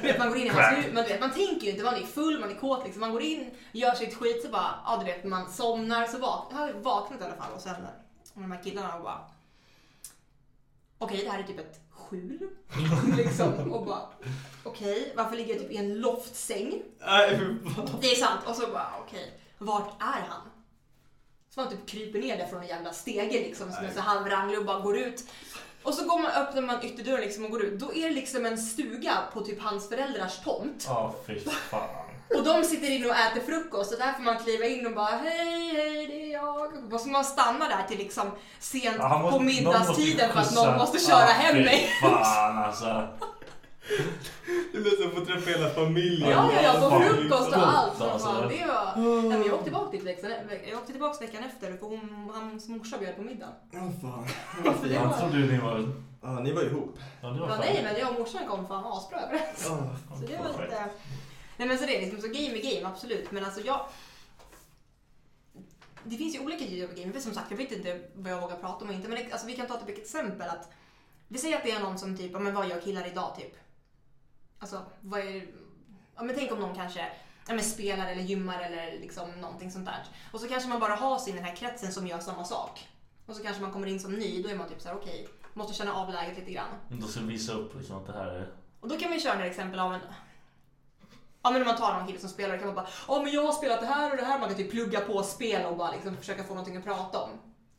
vet, man går in i hans hus, man, vet, man tänker ju inte, man är full, man är kåt liksom. Man går in, gör sitt skit så bara, ja du vet, man somnar så vak- jag har vaknat i alla fall och sen och de här killarna och bara okej, det här är typ ett skjul <laughs> liksom och bara okej, varför ligger jag typ i en loftsäng? Nej, fy fan. Det är sant. Och så bara, okej, vart är han? Så man typ kryper ner där från en jävla stege liksom, som är så halvranglig och bara går ut. Och så går man, öppnar man ytterdörren liksom och går ut. Då är det liksom en stuga på typ hans föräldrars tomt. Ja, fy fan. Och de sitter inne och äter frukost och där får man kliva in och bara hej, hej, det är jag. Och så man stannar där till liksom sent Ja, han måste- på någon måste middagstiden för att någon skjutsa. måste köra Ja, hem fy mig. fan alltså. Det blir som att få träffa hela familjen. Ja, ja, ja, på Fan, frukost och liksom. allt. Så alltså. fan, det var... Nej, men jag åkte tillbaka dit veckan, jag åkte tillbaka veckan efter för hon, hans morsa bjöd på middag. Åh fan. Varför det? Jag trodde ju ni var... Ja, ni var ihop. Ja, det Ja, var fan. nej, men jag och morsan kom fan asbra överens. Ja, så det var perfekt. inte... Nej men så det är liksom så game är game, absolut. Men alltså jag... det finns ju olika videogame. Som sagt, jag vet inte vad jag vågar prata om och inte. Men alltså, vi kan ta typ ett exempel. Att, vi säger att det är någon som typ, ja, men vad gör killar idag typ? Alltså, vad är, ja, men tänk om någon kanske ja, men spelar eller gymmar eller liksom någonting sånt där. Och så kanske man bara har sig i den här kretsen som gör samma sak. Och så kanske man kommer in som ny, då är man typ så här: okej, måste känna av läget lite grann. Då ska vi visa upp liksom att det här är... Och då kan vi köra några exempel av en... Ja men om man tar någon kille som spelar, då kan man bara Ja men jag har spelat det här och det här. Man kan typ plugga på spel och bara liksom försöka få någonting att prata om.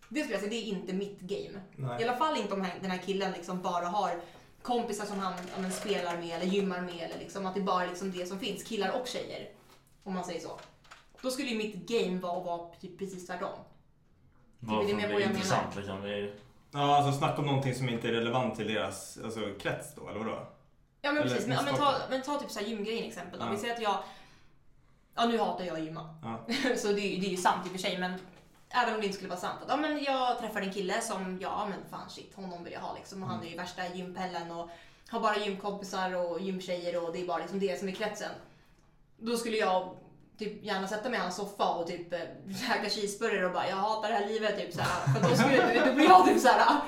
Det skulle jag säga, det är inte mitt game. Nej. I alla fall inte om han- den här killen liksom bara har kompisar som han ja, men, spelar med eller gymmar med eller liksom att det bara är liksom det som finns, killar och tjejer. Om man säger så. Då skulle ju mitt game vara att vara typ precis tvärtom. Varför det det med är vad jag intressant liksom. Det är... Ja, alltså snacka om någonting som inte är relevant till deras alltså, krets då, eller vadå? Ja men Eller precis, men, ja, men, ta, kunskaper. men ta typ så här gymgrejen exempel då. Ja. Vi säger att jag, ja nu hatar jag att gymma. Ja. <laughs> så det, är ju- det är ju sant i och för sig men även om det inte skulle vara sant. Att, ja men jag träffade en kille som, ja men fan shit, honom vill jag ha liksom. Och Mm. han är ju värsta gympellen och har bara gymkompisar och gymtjejer och det är bara liksom det som är kretsen. Då skulle jag typ gärna sätta mig i hans soffa och typ eh, käka cheeseburgare och bara jag hatar det här livet typ såhär. För då skulle, då blir jag typ såhär.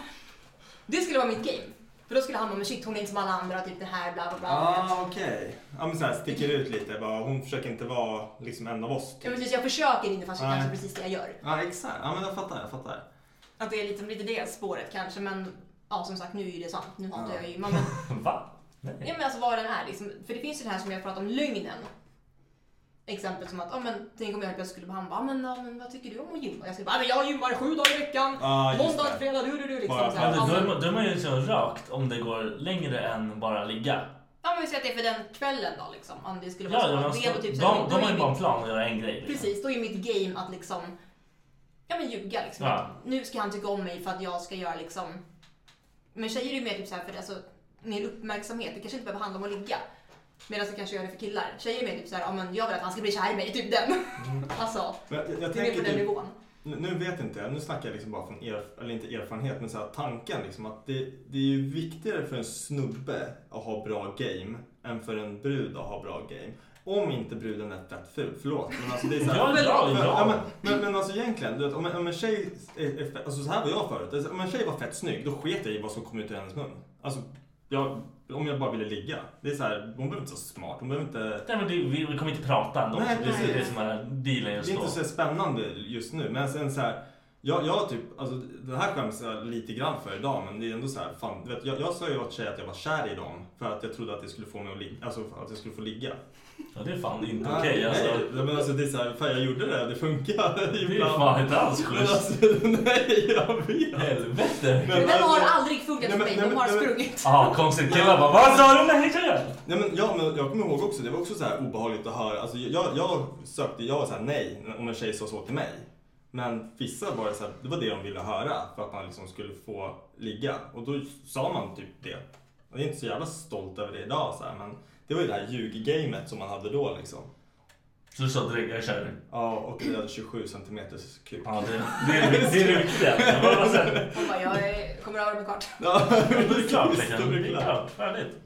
Det skulle vara mitt game. För då skulle han bara, men shit hon är inte som alla andra, typ det här bla bla bla. Ah, okej. Ja, men så här sticker ut lite bara. Hon försöker inte vara liksom en av oss. Ja, men precis, jag försöker inte fast det Nej. kanske är precis det jag gör. Ja, exakt. Ja, men jag fattar, jag fattar. Att det är lite, lite det spåret kanske men ja som sagt nu är ju det sant. Nu hatar Ja. jag ju men, Va? ja, men alltså vad den är liksom. För det finns ju det här som jag pratade om, lögnen. Exempel som att, ja men tänk om jag helt plötsligt skulle, han bara, "Ah, men, ja, men vad tycker du om att gymma? Jag skulle bara, ja, men jag gymmar sju dagar i veckan, Ja, Ah, just måndag det. till fredag, du du du liksom. Bara, så här, men ja, då, men- är man, då är man ju liksom rakt om det går längre än bara ligga. Ja men vi säger att det är för den kvällen då liksom. Om det skulle vara Ja, så. ja, att men det är alltså, på typ de, så här, de då är har ju mitt- bara en plan att göra en grej. Liksom. Precis, då är ju mitt game att liksom Ja men ljuga liksom. Ja. Att Nu ska han tycka om mig för att jag ska göra liksom Men tjejer är ju mer typ såhär för alltså Mer uppmärksamhet, det kanske inte behöver handla om att ligga Medan det kanske gör det för killar. Tjejer är mer typ såhär, ja men jag vill att han ska bli kär i mig, typ den Mm. <laughs> Alltså, Men jag, jag det är mer på tänker den typ- nivån Nu nu vet inte jag, nu snackar jag liksom bara från er, eller inte erfarenhet, men så här tanken liksom att det, det är ju viktigare för en snubbe att ha bra game än för en brud att ha bra game. Om inte bruden är fett ful, förlåt. Men alltså det är så här, Ja, ja, ja. Men, men, men, men alltså egentligen, du vet, om, en, om en tjej, är, är fett, alltså så här var jag förut. Alltså, om en tjej var fett snygg, då sket jag i vad som kom ut ur hennes mun. Alltså, jag, om jag bara ville ligga. Det är så här, hon behöver inte vara så smart, hon behöver inte... Nej, men det, vi, vi kommer inte prata ändå. Nej, det är precis. det som är dealen just Det är då. inte så spännande just nu, men sen så här. Jag, jag typ, alltså det här skäms jag lite grann för idag, men det är ändå så här, fan, du vet, jag, jag sa ju åt tjejer att jag var kär i dem för att jag trodde att det skulle få mig att ligga, alltså att jag skulle få ligga. Ja, det är fan inte okej alltså. Nej, nej, men alltså det är så här, fan jag gjorde det, det funkar. Det är fan inte alls Men schysst. alltså, <laughs> nej, jag vet. Helvete. Men Den har alltså- aldrig funkat för mig, de har sprungit <laughs> Ja, konstigt. Killar bara Vad sa du? Nej, tjejer! Nej, men, ja, men jag kommer ihåg också, det var också så här obehagligt att höra. Alltså, jag, jag sökte, jag var så här nej om en tjej sa så till mig. Men vissa var det så här, det var det de ville höra för att man liksom skulle få ligga. Och då sa man typ det. Jag är inte så jävla stolt över det idag så här, men det var ju det här ljuggamet som man hade då liksom. Så du sa direkt jag är kär i dig. Ja, och vi hade 27 centimeters kuk. Ja, det, det, är det, det är det viktiga. Jag bara, vad säger du? Han bara, jag är- kommer över mig kort Ja, Ja, Det är klart liksom. det Det är är klart. Färdigt.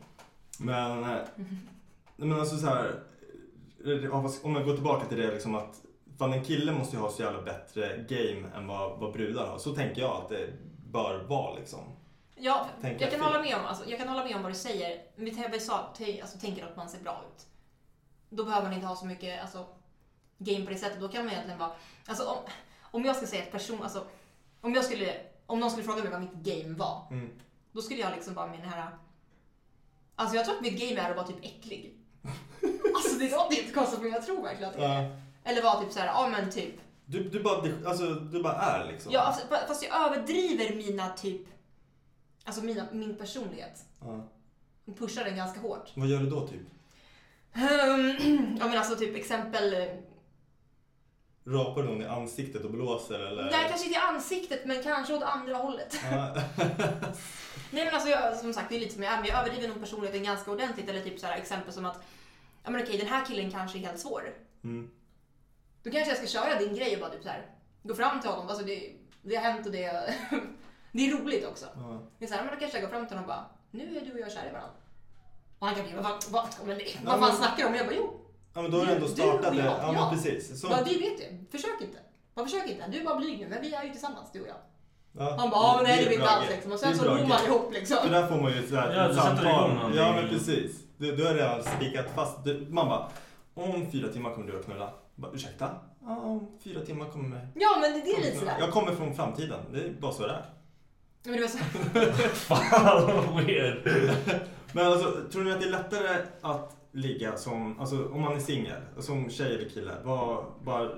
Men, eh, nej, men alltså så här, eh, ja, vad ska- om jag går tillbaka till det liksom att fan en kille måste ju ha så jävla bättre game än vad, vad brudar har. Så tänker jag att det bör vara liksom. Ja, Tänker jag kan, jag fel? hålla med om, alltså, jag kan hålla med om vad du säger. Men vi tänker- vi sa, te- alltså, tänker att man ser bra ut. Då behöver man inte ha så mycket alltså, game på det sättet. Då kan man egentligen bara... Alltså, om, om jag ska säga ett person... Alltså, om, jag skulle, om någon skulle fråga mig vad mitt game var. Mm. Då skulle jag liksom bara med den här... Alltså jag tror att mitt game är att vara typ äcklig. alltså det låter inte konstigt men jag tror verkligen att det är det. Ja. Eller vara typ så här, ja men typ... Du, du, bara, alltså, du bara är liksom. Ja, alltså, fa- fast jag överdriver mina typ... Alltså mina, min personlighet. Ja. och pushar den ganska hårt. Vad gör du då typ? Ehm, <clears throat> ja men alltså typ exempel, Rapar du någon i ansiktet och blåser eller? nej kanske inte i ansiktet men kanske åt andra hållet. Ja. <laughs> Nej men alltså jag, som sagt det är lite som jag är, men jag överdriver nog personligheten ganska ordentligt. Eller typ så här exempel som att, ja men okej den här killen kanske är helt svår. Mm. Då kanske jag ska köra din grej och bara typ så här, gå fram till honom. Alltså det, det har hänt och det, <laughs> det är roligt också. Ja. Det är så här, men då kanske jag går fram till honom och bara, nu är du och jag kära i varandra. Och han kan bli, vad, vad, vad, men det- Ja, vad men- fan snackar du om? Jag bara, jo. ja men då har du ändå Du och startat det. jag, Ja, ja. men precis. Så, Ja, det vet jag. Försök inte. Man försöker inte. Du är bara blyg nu, men vi är ju tillsammans, du och jag. Ja, Han bara, "Ah, men nej, det är blir bra inte alls grej. liksom." Och sen Det är så bra bor man grej. ihop, liksom. För där får man ju sådär Ja, ett du sätter igång samtal. någonting. Ja, men precis. Du, du har redan spikat fast. Du, man bara, om fyra timmar kommer du att knulla. Jag Bara, Ursäkta? Ja, om fyra timmar kommer... Ja, men det, det är lite sådär. Jag kommer från framtiden. Det är bara så det är. Men det var så... Fan vad weird. <laughs> Men alltså, tror ni att det är lättare att ligga som, alltså om man är singel, som tjej eller kille? Vad, bara,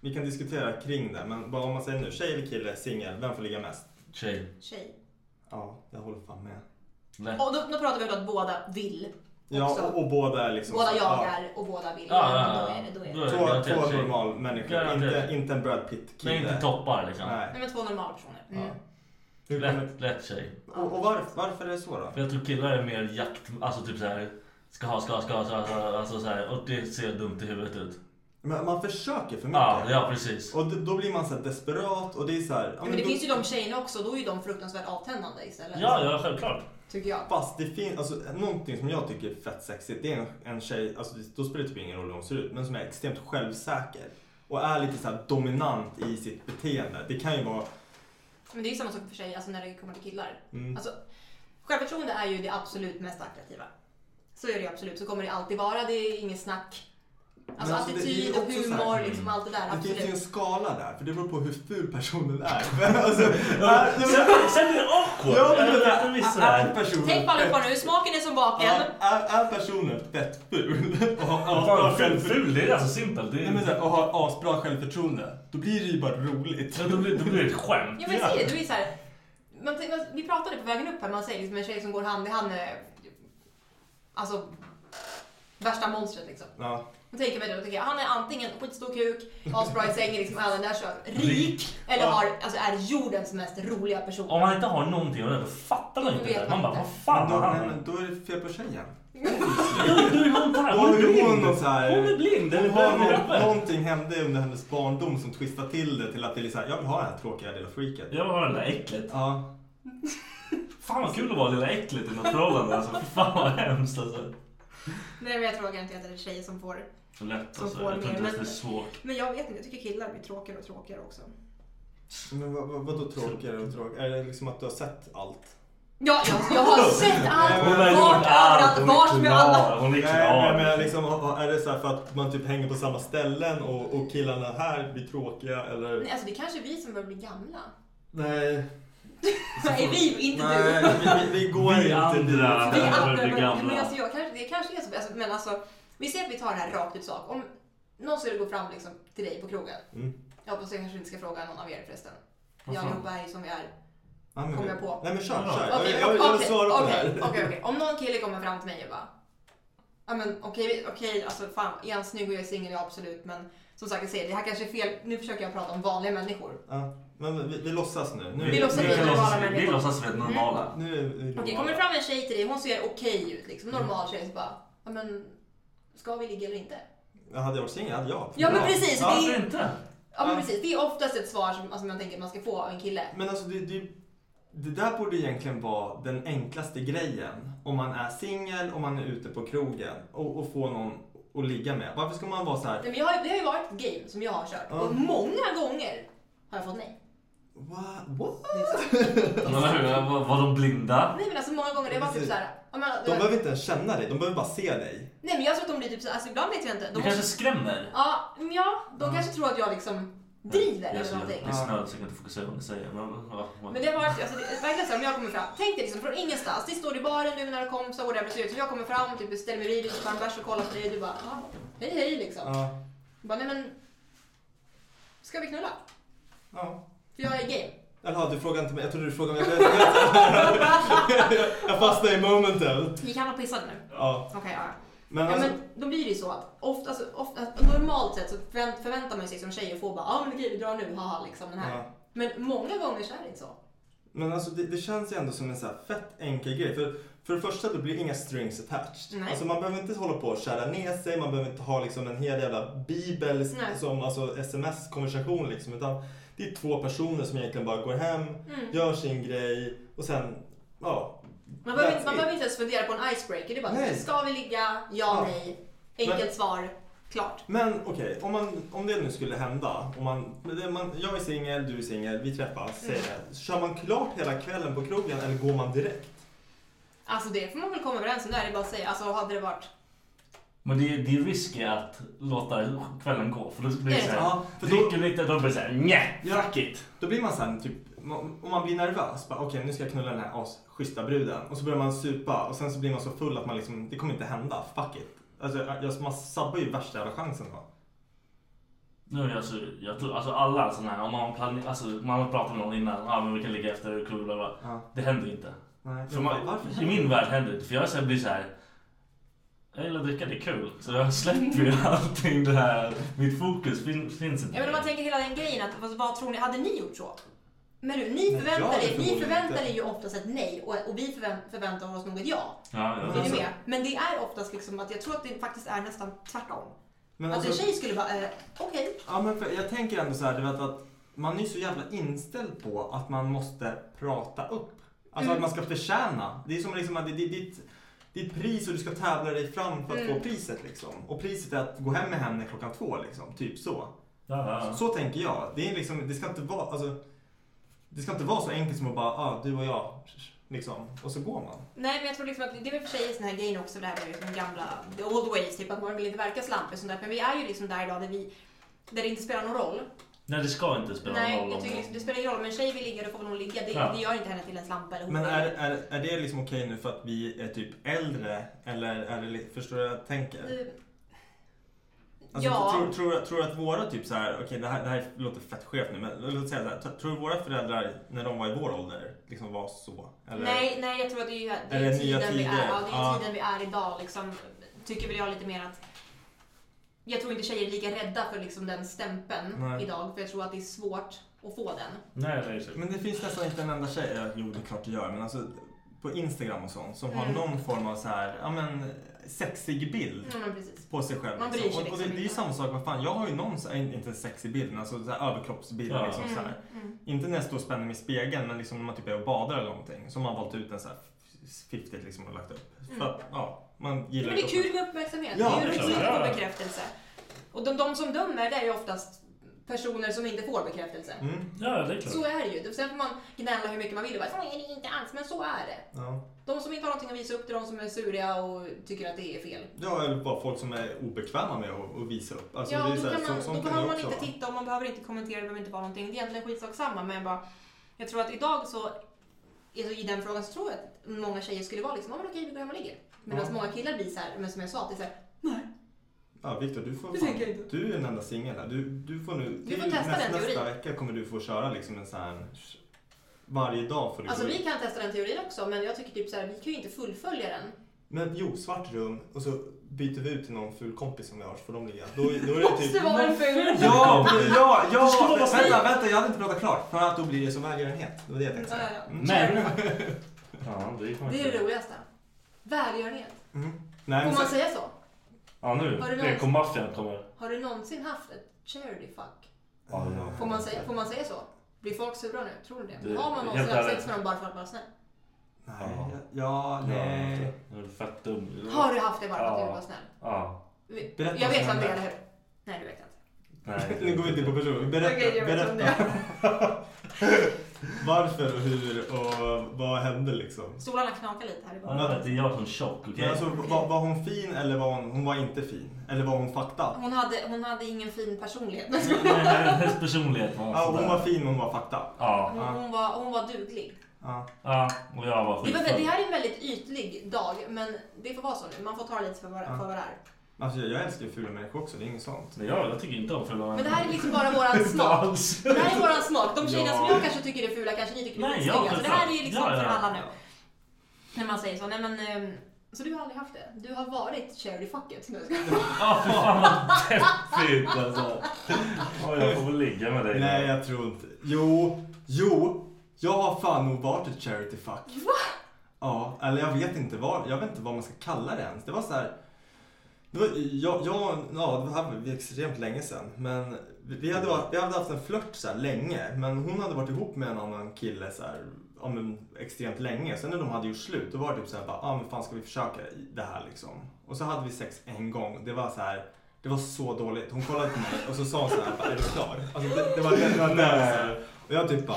vi kan diskutera kring det, men bara om man säger nu, tjej eller kille, singel, vem får ligga mest? Tjej. Tjej. Ja, jag håller fan med. Nej. Och då, då pratar vi om att båda vill. Ja, också. och, och båda är liksom... Båda jagar och båda vill. Ja, ja, ja. Då är det, då är det. Då är det. Två, Garanterat två tjej. normalmänniskor, Garanterat. inte, inte en Brad Pitt-kille. Nej, inte toppar liksom. Nej. Nej, men två normala personer. Mm. Hur kommer, Lätt, lätt tjej. och och varför, varför är det så då? För jag tror killar är mer jakt, alltså typ såhär. Ska ha, ska ha, ska ha, ska ha, ska ha, alltså såhär. Och det ser dumt i huvudet ut. Men man försöker för mycket. Ja, ja precis. Och då- då blir man så här desperat och det är så här... ja, Ja, men det då- finns ju de tjejerna också, då är ju de fruktansvärt avtändande istället. Ja, ja självklart. Tycker jag. Fast det finns, alltså någonting som jag tycker är fett sexigt, det är en, en tjej, alltså det- då spelar det typ ingen roll hur hon ser ut, men som är extremt självsäker. Och är lite så här dominant i sitt beteende. Det kan ju vara, Men det är ju samma sak för sig alltså när det kommer till killar. Mm. Alltså, självförtroende är ju det absolut mest attraktiva. Så är det ju absolut. Så kommer det alltid vara. Det är inget snack. Alltså Men alltså, det- det är attityd ju och också så här- Mm. humor, liksom allt det där. det finns ju en Absolut. skala där, för det beror på hur ful personen <laughs> är. Men alltså, är, Sen, sen är det awkward. ja, men, jag vet inte är, vissa är här. personen Tänk på allihopa fett- nu, smaken är som baken. Ja, är, är personen fett ful <laughs> och har asbra Fan, ful, självförtroende, ful, det är alltså simpelt. Det Nej, men så är, här, och har asbra självförtroende, då blir det ju bara roligt. ja, då, blir, då blir det <laughs> ett skämt. Ja men jag säger det, du är så här, man, man, vi pratade på vägen upp här, man säger liksom en tjej som går hand i hand med, alltså värsta monstret liksom. Ja. Man tänker mig det och tänker jag, han är antingen skitstor kuk, asbra i sängen, liksom, alla där kör, rik eller Ja. har, alltså, är jordens mest roliga person. Om man inte har någonting att göra, då fattar man Då inte vet det. man Man inte. bara, vad fan Då, har nej, han? men då är det fel på tjejen. Jo, då är <laughs> hon där. Då Hon är har ju blind. hon något så här- Hon är blind. Hon Eller har döv i någon, röven. någonting hände under hennes barndom som twistade till det till att det är så här, jag vill ha det här tråkiga lilla freaket. Jag har det där äcklet. Ja. Fan vad kul att vara lilla äcklet i något förhållande. Alltså, Fy fan vad hemskt alltså. Nej men jag tror garanterat att det är tjejer som får. Så lätt Som alltså. får Jag tror mer, inte ens det är men- svårt. Men jag vet inte, jag tycker killar blir tråkigare och tråkigare också. Men vad, vad, vadå tråkigare och tråkigare? Är det liksom att du har sett allt? Ja, jag, jag har sett allt, Hon har varit gjort allt. överallt, Hon varit är med alla. klar. Hon är Nej, men, klar. men liksom, är det så här för att man typ hänger på samma ställen och, och killarna här blir tråkiga eller? Nej, alltså det är kanske är vi som börjar bli gamla. <laughs> Nej. är vi, inte du. Nej, vi, vi, vi går Vi inte andra. Vi dit. Ja, andra, börjar bli men- gamla. Men alltså, jag kanske, det kanske är så. Alltså, men alltså, vi ser att vi tar det här rakt ut sak. Om någon skulle gå fram liksom, till dig på krogen. Mm. Jag hoppas jag kanske inte ska fråga någon av er förresten. Vad Vi fan? allihopa är ju som vi är. Ja, men vi- Kommer jag på. Nej men kör, Ja. kör. Okej, jag, jag, jag vill okej, svara på det okej, här. okej, okej. Om någon kille kommer fram till mig och bara. Ja men okej, okej, alltså fan. Är han snygg och jag är singel, ja absolut. Men som sagt, jag säger, det här kanske är fel. Nu försöker jag prata om vanliga människor. Ja, men vi, vi låtsas nu. nu Vi låtsas nu- vi vi är normala låtsas- vi människor. låtsas vi är normala. Nu är vi Okej, kommer det fram en tjej till dig, hon ser okej ut liksom. Normal tjej, så bara. Ja men, ska vi ligga eller inte? Ja, Hade jag varit singel hade jag. Ja men Bra. precis, Ja, det Varför är, inte? ja, men precis. Det är oftast ett svar som alltså, man tänker att man ska få av en kille. Men alltså det, det, det där borde egentligen vara den enklaste grejen. Om man är singel, om man är ute på krogen och, och får någon att ligga med. Varför ska man vara så här? Nej, men jag har, det har ju varit ett game som jag har kört Ja. och många gånger har jag fått nej. What? What? Men hur, Var var de blinda? Nej men alltså många gånger, det var typ såhär. Ja, men, De behöver inte ens känna dig, de behöver bara se dig. Nej men jag tror att de blir typ såhär, alltså ibland vet jag inte. Du De kanske skrämmer? Ja, men ja, de kanske tror att jag liksom driver Jag är eller så någonting. jävla snöd så jag kan inte fokusera på vad ni säger. Men, ja, ja. Men det har varit, alltså, det, är verkligen så här, om jag kommer fram. Tänk dig liksom från ingenstans, det står i baren, du med några kompisar, whatever, så jag kommer fram, typ ställer mig vid dig, tar en bärs och kollar på dig och du bara ah, hej hej liksom. Ja. Jag bara, nej men, ska vi knulla? ja. För jag är game. Eller ja, du frågade inte mig. Jag trodde du <laughs> frågade mig. Jag- <laughs> jag- jag- Jag fastnade i momentet. Gick han och pissade nu? Ja. Okej, ja. Men ja. alltså, men då blir det ju så att ofta, alltså, ofta, att normalt sett så förvänt, förväntar man sig som tjej att få bara ja ah, men okej vi drar nu, haha liksom den här. Ja. Men många gånger så är det inte så. men alltså det, det känns ju ändå som en så här fett enkel grej. För, för det första, det blir inga strings attached. Nej. Alltså man behöver inte hålla på och kära ner sig. Man behöver inte ha liksom en hel jävla bibel Nej. som alltså sms-konversation liksom. Utan det är två personer som egentligen bara går hem, Mm. gör sin grej och sen, ja. Man behöver, that's inte- man it. behöver inte ens fundera på en icebreaker. Det är bara Nej. ska vi ligga, ja, Ja. nej. Enkelt Men- svar. Klart. Men okej, om, man- om det nu skulle hända. Om man, men det, man, jag är singel, du är singel, vi träffas, säger Mm. det. Kör man klart hela kvällen på krogen eller går man direkt? Alltså det får man väl komma överens om. Det är det bara att säga. Alltså hade det varit... Men det, det är risky att låta kvällen gå för då blir det Ja. såhär, Ja, för då- dricker lite, då blir det såhär, nej, Ja. fuck it. Då blir man sen typ, om man blir nervös, bara okej nu ska jag knulla den här asschyssta bruden. Och så börjar man supa och sen så blir man så full att man liksom, det kommer inte hända, fuck it. Alltså jag, man sabbar ju värsta jävla chansen då. Nu, alltså, jag tror, alltså alla sådana här, om man, plan, alltså, man har pratat med någon innan, ah, men vi kan ligga efter och bla, bla. Ja. Det händer inte. Nej, För men man, varför I händer min det? värld händer det inte, för jag så här blir så här. Jag gillar att dricka, det är kul. Så jag släpper ju <laughs> allting det här, mitt fokus finns, finns inte. Ja, men om man tänker hela den grejen att vad, vad tror ni, hade ni gjort så? Men nu, ni Nej, jag förväntar hade er, ni förmodligen förväntar inte. er ju oftast ett nej och, och vi förvän- förväntar oss nog ett ja. Ja, ja, Är ni det- med? Men det är oftast liksom att jag tror att det faktiskt är nästan tvärtom. Men att alltså- en tjej skulle bara, eh, okej. Ja, men för jag tänker ändå så här, du vet att man är ju så jävla inställd på att man måste prata upp. Mm. Alltså att man ska förtjäna. Det är som liksom att det, det är ditt, ditt pris och du ska tävla dig fram för att Mm. få priset liksom. Och priset är att gå hem med henne klockan två liksom, typ så. Ja, ja. Så, så tänker jag. Det, är liksom, det ska inte vara, alltså, det ska inte vara så enkelt som att bara, ah, du och jag, liksom. Och så går man. Nej, men jag tror liksom att det är väl för sig sån här grejen också, det här med de gamla, the old ways, typ att man vill inte verka slampig och sånt där. Men vi är ju liksom där idag där vi, där det inte spelar någon roll. Nej, det ska inte spela Nej, någon roll. jag om- tycker liksom, det spelar ingen roll. Men en tjej vill ligga, då får väl hon ligga. Det, Ja. det gör inte henne till en slampa eller Men hora. är, är, är det liksom okej nu för att vi är typ äldre? Eller är det, li- förstår du vad jag tänker? Eh, Alltså, Ja. tror, tror, tror du att våra typ så här, okej det, här, det här låter fett skevt nu, men låt säga så här, tror du våra föräldrar när de var i vår ålder liksom var så? Eller? Nej, nej, jag tror att det är, ju- det är, Eller ju nya tiden, vi tider. är, ja, det är Ja. ju tiden vi är idag. Liksom, tycker väl jag lite mer att jag tror inte tjejer är lika rädda för liksom, den stämpeln Nej. idag. För jag tror att det är svårt att få den. Nej, nej, så. Men det finns nästan inte en enda tjej, ja, jo det är klart det gör, men alltså på Instagram och sånt som har Mm. någon form av så här, ja men sexig bild Ja, men precis. på sig själv. Man bryr sig och, och det, liksom det är ju inte. samma sak, vad fan jag har ju någon, så här, inte en sexig bild, men alltså så här, överkroppsbild Ja. liksom så här. Mm, mm. Inte när jag står och spänner mig i spegeln, men liksom när man typ är och badar eller någonting. Så har man valt ut en så här fiffigt liksom och lagt upp. Mm. För att, ja, man Men gillar det är kroppen. kul med uppmärksamhet. Ja, det är ju det är roligt klart. att Ja. få bekräftelse. Och de, de som dömer, det är ju oftast personer som inte får bekräftelse. Mm. Ja, det är klart. Så är det ju. Sen får man gnälla hur mycket man vill och bara, så är det inte alls, men så är det. Ja. De som inte har någonting att visa upp, det är de som är suriga och tycker att det är fel. Ja, eller bara folk som är obekväma med att, att visa upp. Alltså, ja, det är då, så här, kan man, så, sånt då kan behöver ju man också inte vara. titta och man behöver inte kommentera, det behöver inte vara någonting. Det är egentligen skitsamma men jag bara, jag tror att idag så, alltså i den frågan så tror jag att många tjejer skulle vara liksom, ja men okej vi går hem och ligger. Medan Ja. många killar blir så här, men som jag sa, att det är så här, Ja, Viktor, du får Det tänker jag inte. Du är den enda singeln här. Du, du får nu... Du får till testa nästa, den teorin. Nästa vecka kommer du få köra liksom en sån här... Varje dag får du alltså gå vi ut. kan testa den teorin också men jag tycker typ så här, vi kan ju inte fullfölja den. Men jo, svart rum och så byter vi ut till någon ful kompis som vi har så får de ligga. Då, då är det Måste typ... vara en ful Ja, kompis. ja, Du ska ja! vara snäll. Vänta, vänta, jag hade inte pratat klart. För att då blir det som välgörenhet. Det var det jag tänkte säga. Ja, ja, ja. Men... ja, det kommer Det är det roligaste. Välgörenhet. Mm. Nej, Får men man så- säga så? Ja, nu. Har du någon- PK-maffian kommer. Har du någonsin haft ett charity fuck? Ja, det är- Får man säga, får man säga så? Blir folk sura nu? Tror du det? Det- Har man helt någonsin haft ärligt. sex med dem bara för att vara snäll? Nej, ja, nej. Nu är du fett dum. Har du haft det bara för att du Ja. var snäll? Ja. Vi- Berätta jag vad vet vem som det är, hände. eller hur? Nej, du vet inte. Nej. Nu går vi inte på person. Berätta. Okej, jag vet berätta. vem det är. <laughs> Varför och hur och vad hände liksom? Stolarna knakar lite här i början. Ja, Det är jag som tjock, okej? Men alltså, var, var hon fin eller var hon, hon var inte fin? Eller var hon fucked up? Hon hade, hon hade ingen fin personlighet. men Nej, Hennes personlighet var Ja, hon sådär. var fin, hon var fucked up. Ja. Hon, hon, var, hon var duglig. Ja. Ja, och jag var Det, var, skitfull. det här är en väldigt ytlig dag, men det får vara så nu. Man får ta det lite för vad, Ja. för vad det är. Alltså, jag älskar ju fula människor också, det är inget sånt. Nej, jag, jag tycker inte om fula Men det här är liksom bara våran smak. alls. Det här är våran smak. De tjejerna Ja. som jag kanske tycker är fula kanske ni tycker är Nej, skitsnygga. ja, Så det här är ju självklart. liksom Ja, ja, för ja. alla nu. När man säger så. Nej, men, ehm, så du har aldrig haft det? Du har varit charity <laughs> fucket. Nu ska jag- Ja, fy fan vad deppigt alltså. Oj, jag får väl ligga med dig. Nej, jag tror inte. Jo, jo. Jag har fan nog varit ett charity fuck. Va? Ja, eller jag vet inte vad, jag vet inte vad man ska kalla det ens. Det var så här. Det var, jag, jag, ja, det här var extremt länge sedan. Men vi- vi hade, varit, vi hade haft en flört så här länge. Men hon hade varit ihop med en annan kille så här, ja, men, extremt länge. Sen när de hade gjort slut, då var det typ så här, bara, ah, men fan ska vi försöka det här liksom. Och så hade vi sex en gång. Det var så här, det Det var så dåligt. Hon kollade på mig och så sa hon så här, bara, är du klar? Alltså, det, det var det det var nervöst. Och jag typ bara,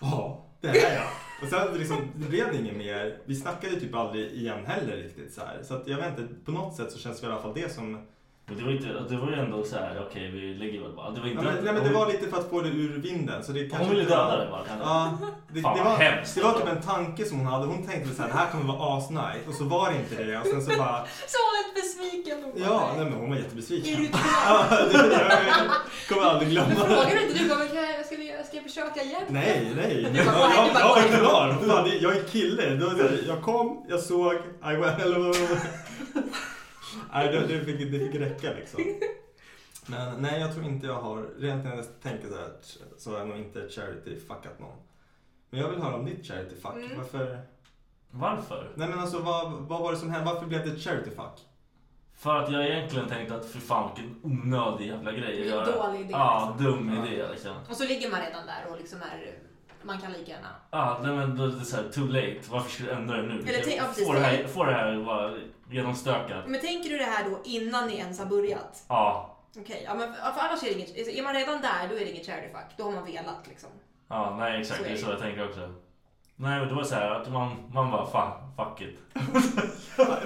ja, det är jag. Och sen liksom, det blev inget mer. Vi snackade ju typ aldrig igen heller riktigt så här. Så att jag vet inte, på något sätt så känns det i alla fall det som... Men det var, inte, det var ju ändå så här, okej vi lägger väl bara. Det var Ja, inte... men, nej, men det var lite för att få det ur vinden. Så det kanske ville inte var- döda dig bara, kanske. Ja, det, Fan, det, vad var, hemskt. det var typ en tanke som hon hade. Hon tänkte så här, det här kommer vara asnice. Och så var det inte det. Och sen så bara, Så hon är besviken på mig. ja, nej men hon var jättebesviken. Irriterad. ja, det, jag kommer aldrig glömma Men det. frågar du inte du bara, men kan jag, ska, vi, ska jag försöka igen? Nej, nej. Du Jag, bara, jag, jag, bara, var klar. Fan, det- Jag är kille. Det var så här, Jag kom, jag såg, I well. Nej, det, det, fick, det fick räcka liksom. Men nej, jag tror inte jag har, rent när jag tänker så här, så har jag nog inte charity fuckat någon. Men jag vill höra om ditt charity fuck. Mm. Varför? Varför? Nej men alltså vad, vad var det som hände? Varför blev det ett charity fuck? För att jag egentligen tänkte att för fan vilken onödig jävla grej att göra. Dålig idé, Ja, dum idé liksom. Och så ligger man redan där och liksom är, man kan lika gärna. Ja, nej men då är det såhär too late. Varför skulle jag ändra det nu? Eller tänk- ja, precis, Få det här, tänk- få det här bara genomstökat. Men tänker du det här då innan ni ens har börjat? Ja, Okej, ja, men för, för annars är det inget, alltså, är man redan där då är det inget charity fuck. Då har man velat liksom. ja nej exakt. Så är Det är det. så jag tänker också. Nej men det var såhär att man, man bara fan, fuck it.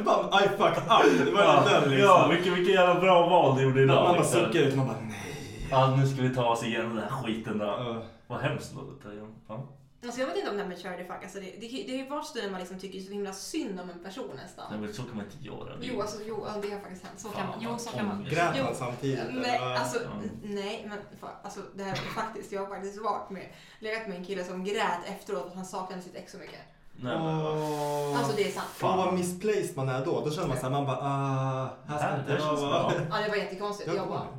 Bara, I fucked up. Det var ja, den liksom. ja vilket, vilket jävla bra val du gjorde idag. man bara liksom. suckar ut. Man bara nej. Ja, nu ska vi ta oss igenom den här skiten då. Vad hemskt låter det. Ja. Alltså, jag vet inte om det här med charity fuck, alltså, det, det, det är ju vart när man liksom tycker så himla synd om en person nästan. Nej men så kan man inte göra. Det är- Jo, alltså, jo, ja, det har faktiskt hänt. Så kan Fan, man. Jo, vad så kan man. ångest. Grät Jo. man samtidigt? Nej, eller? alltså, Ja. nej, men fa- alltså, det här är faktiskt, jag har faktiskt varit med, legat med en kille som grät efteråt för att han saknade sitt ex så mycket. Nej, men, Åh. Alltså det är sant. Fan vad misplaced man är då. Då känner man såhär, man bara ah, här Det ska här- inte det här jag känns vara. bra. <laughs> Ja, det var jättekonstigt. Jag Jag bara... kommer.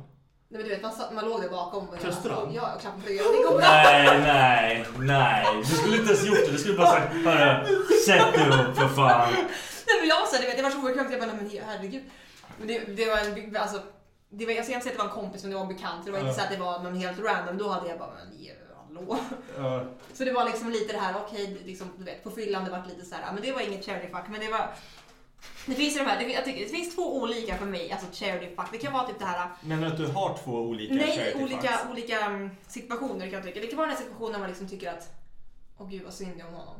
Nej, men du vet, man, satt, man låg där bakom. och- Kysste du honom? Ja, jag klappade på ryggen. Det går bra. Nej, nej, nej. Du skulle inte ens gjort det. Du skulle bara sagt hörru, sätt dig upp för fan. Nej, men jag var så här, du vet, jag var så oförskämd. Jag bara, nej, men herregud. Men det, det var en, alltså, det var, jag ska inte säga att det var en kompis, men det var en bekant. Det var inte Ja. så att det var någon helt random. Då hade jag bara, men ge- hallå. Ja. Så det var liksom lite det här, okej, liksom, du vet, på fyllan det vart lite så här, ja, men det var inget charity fuck, men det var det finns, ju de här, det, jag tycker, det finns två olika för mig, alltså charity fuck. Det kan vara typ det här Menar du att du har två olika Nej, charity olika, fucks? olika mm, situationer kan jag tycka. Det kan vara den här situationen när man liksom tycker att Åh gud vad synd jag om honom.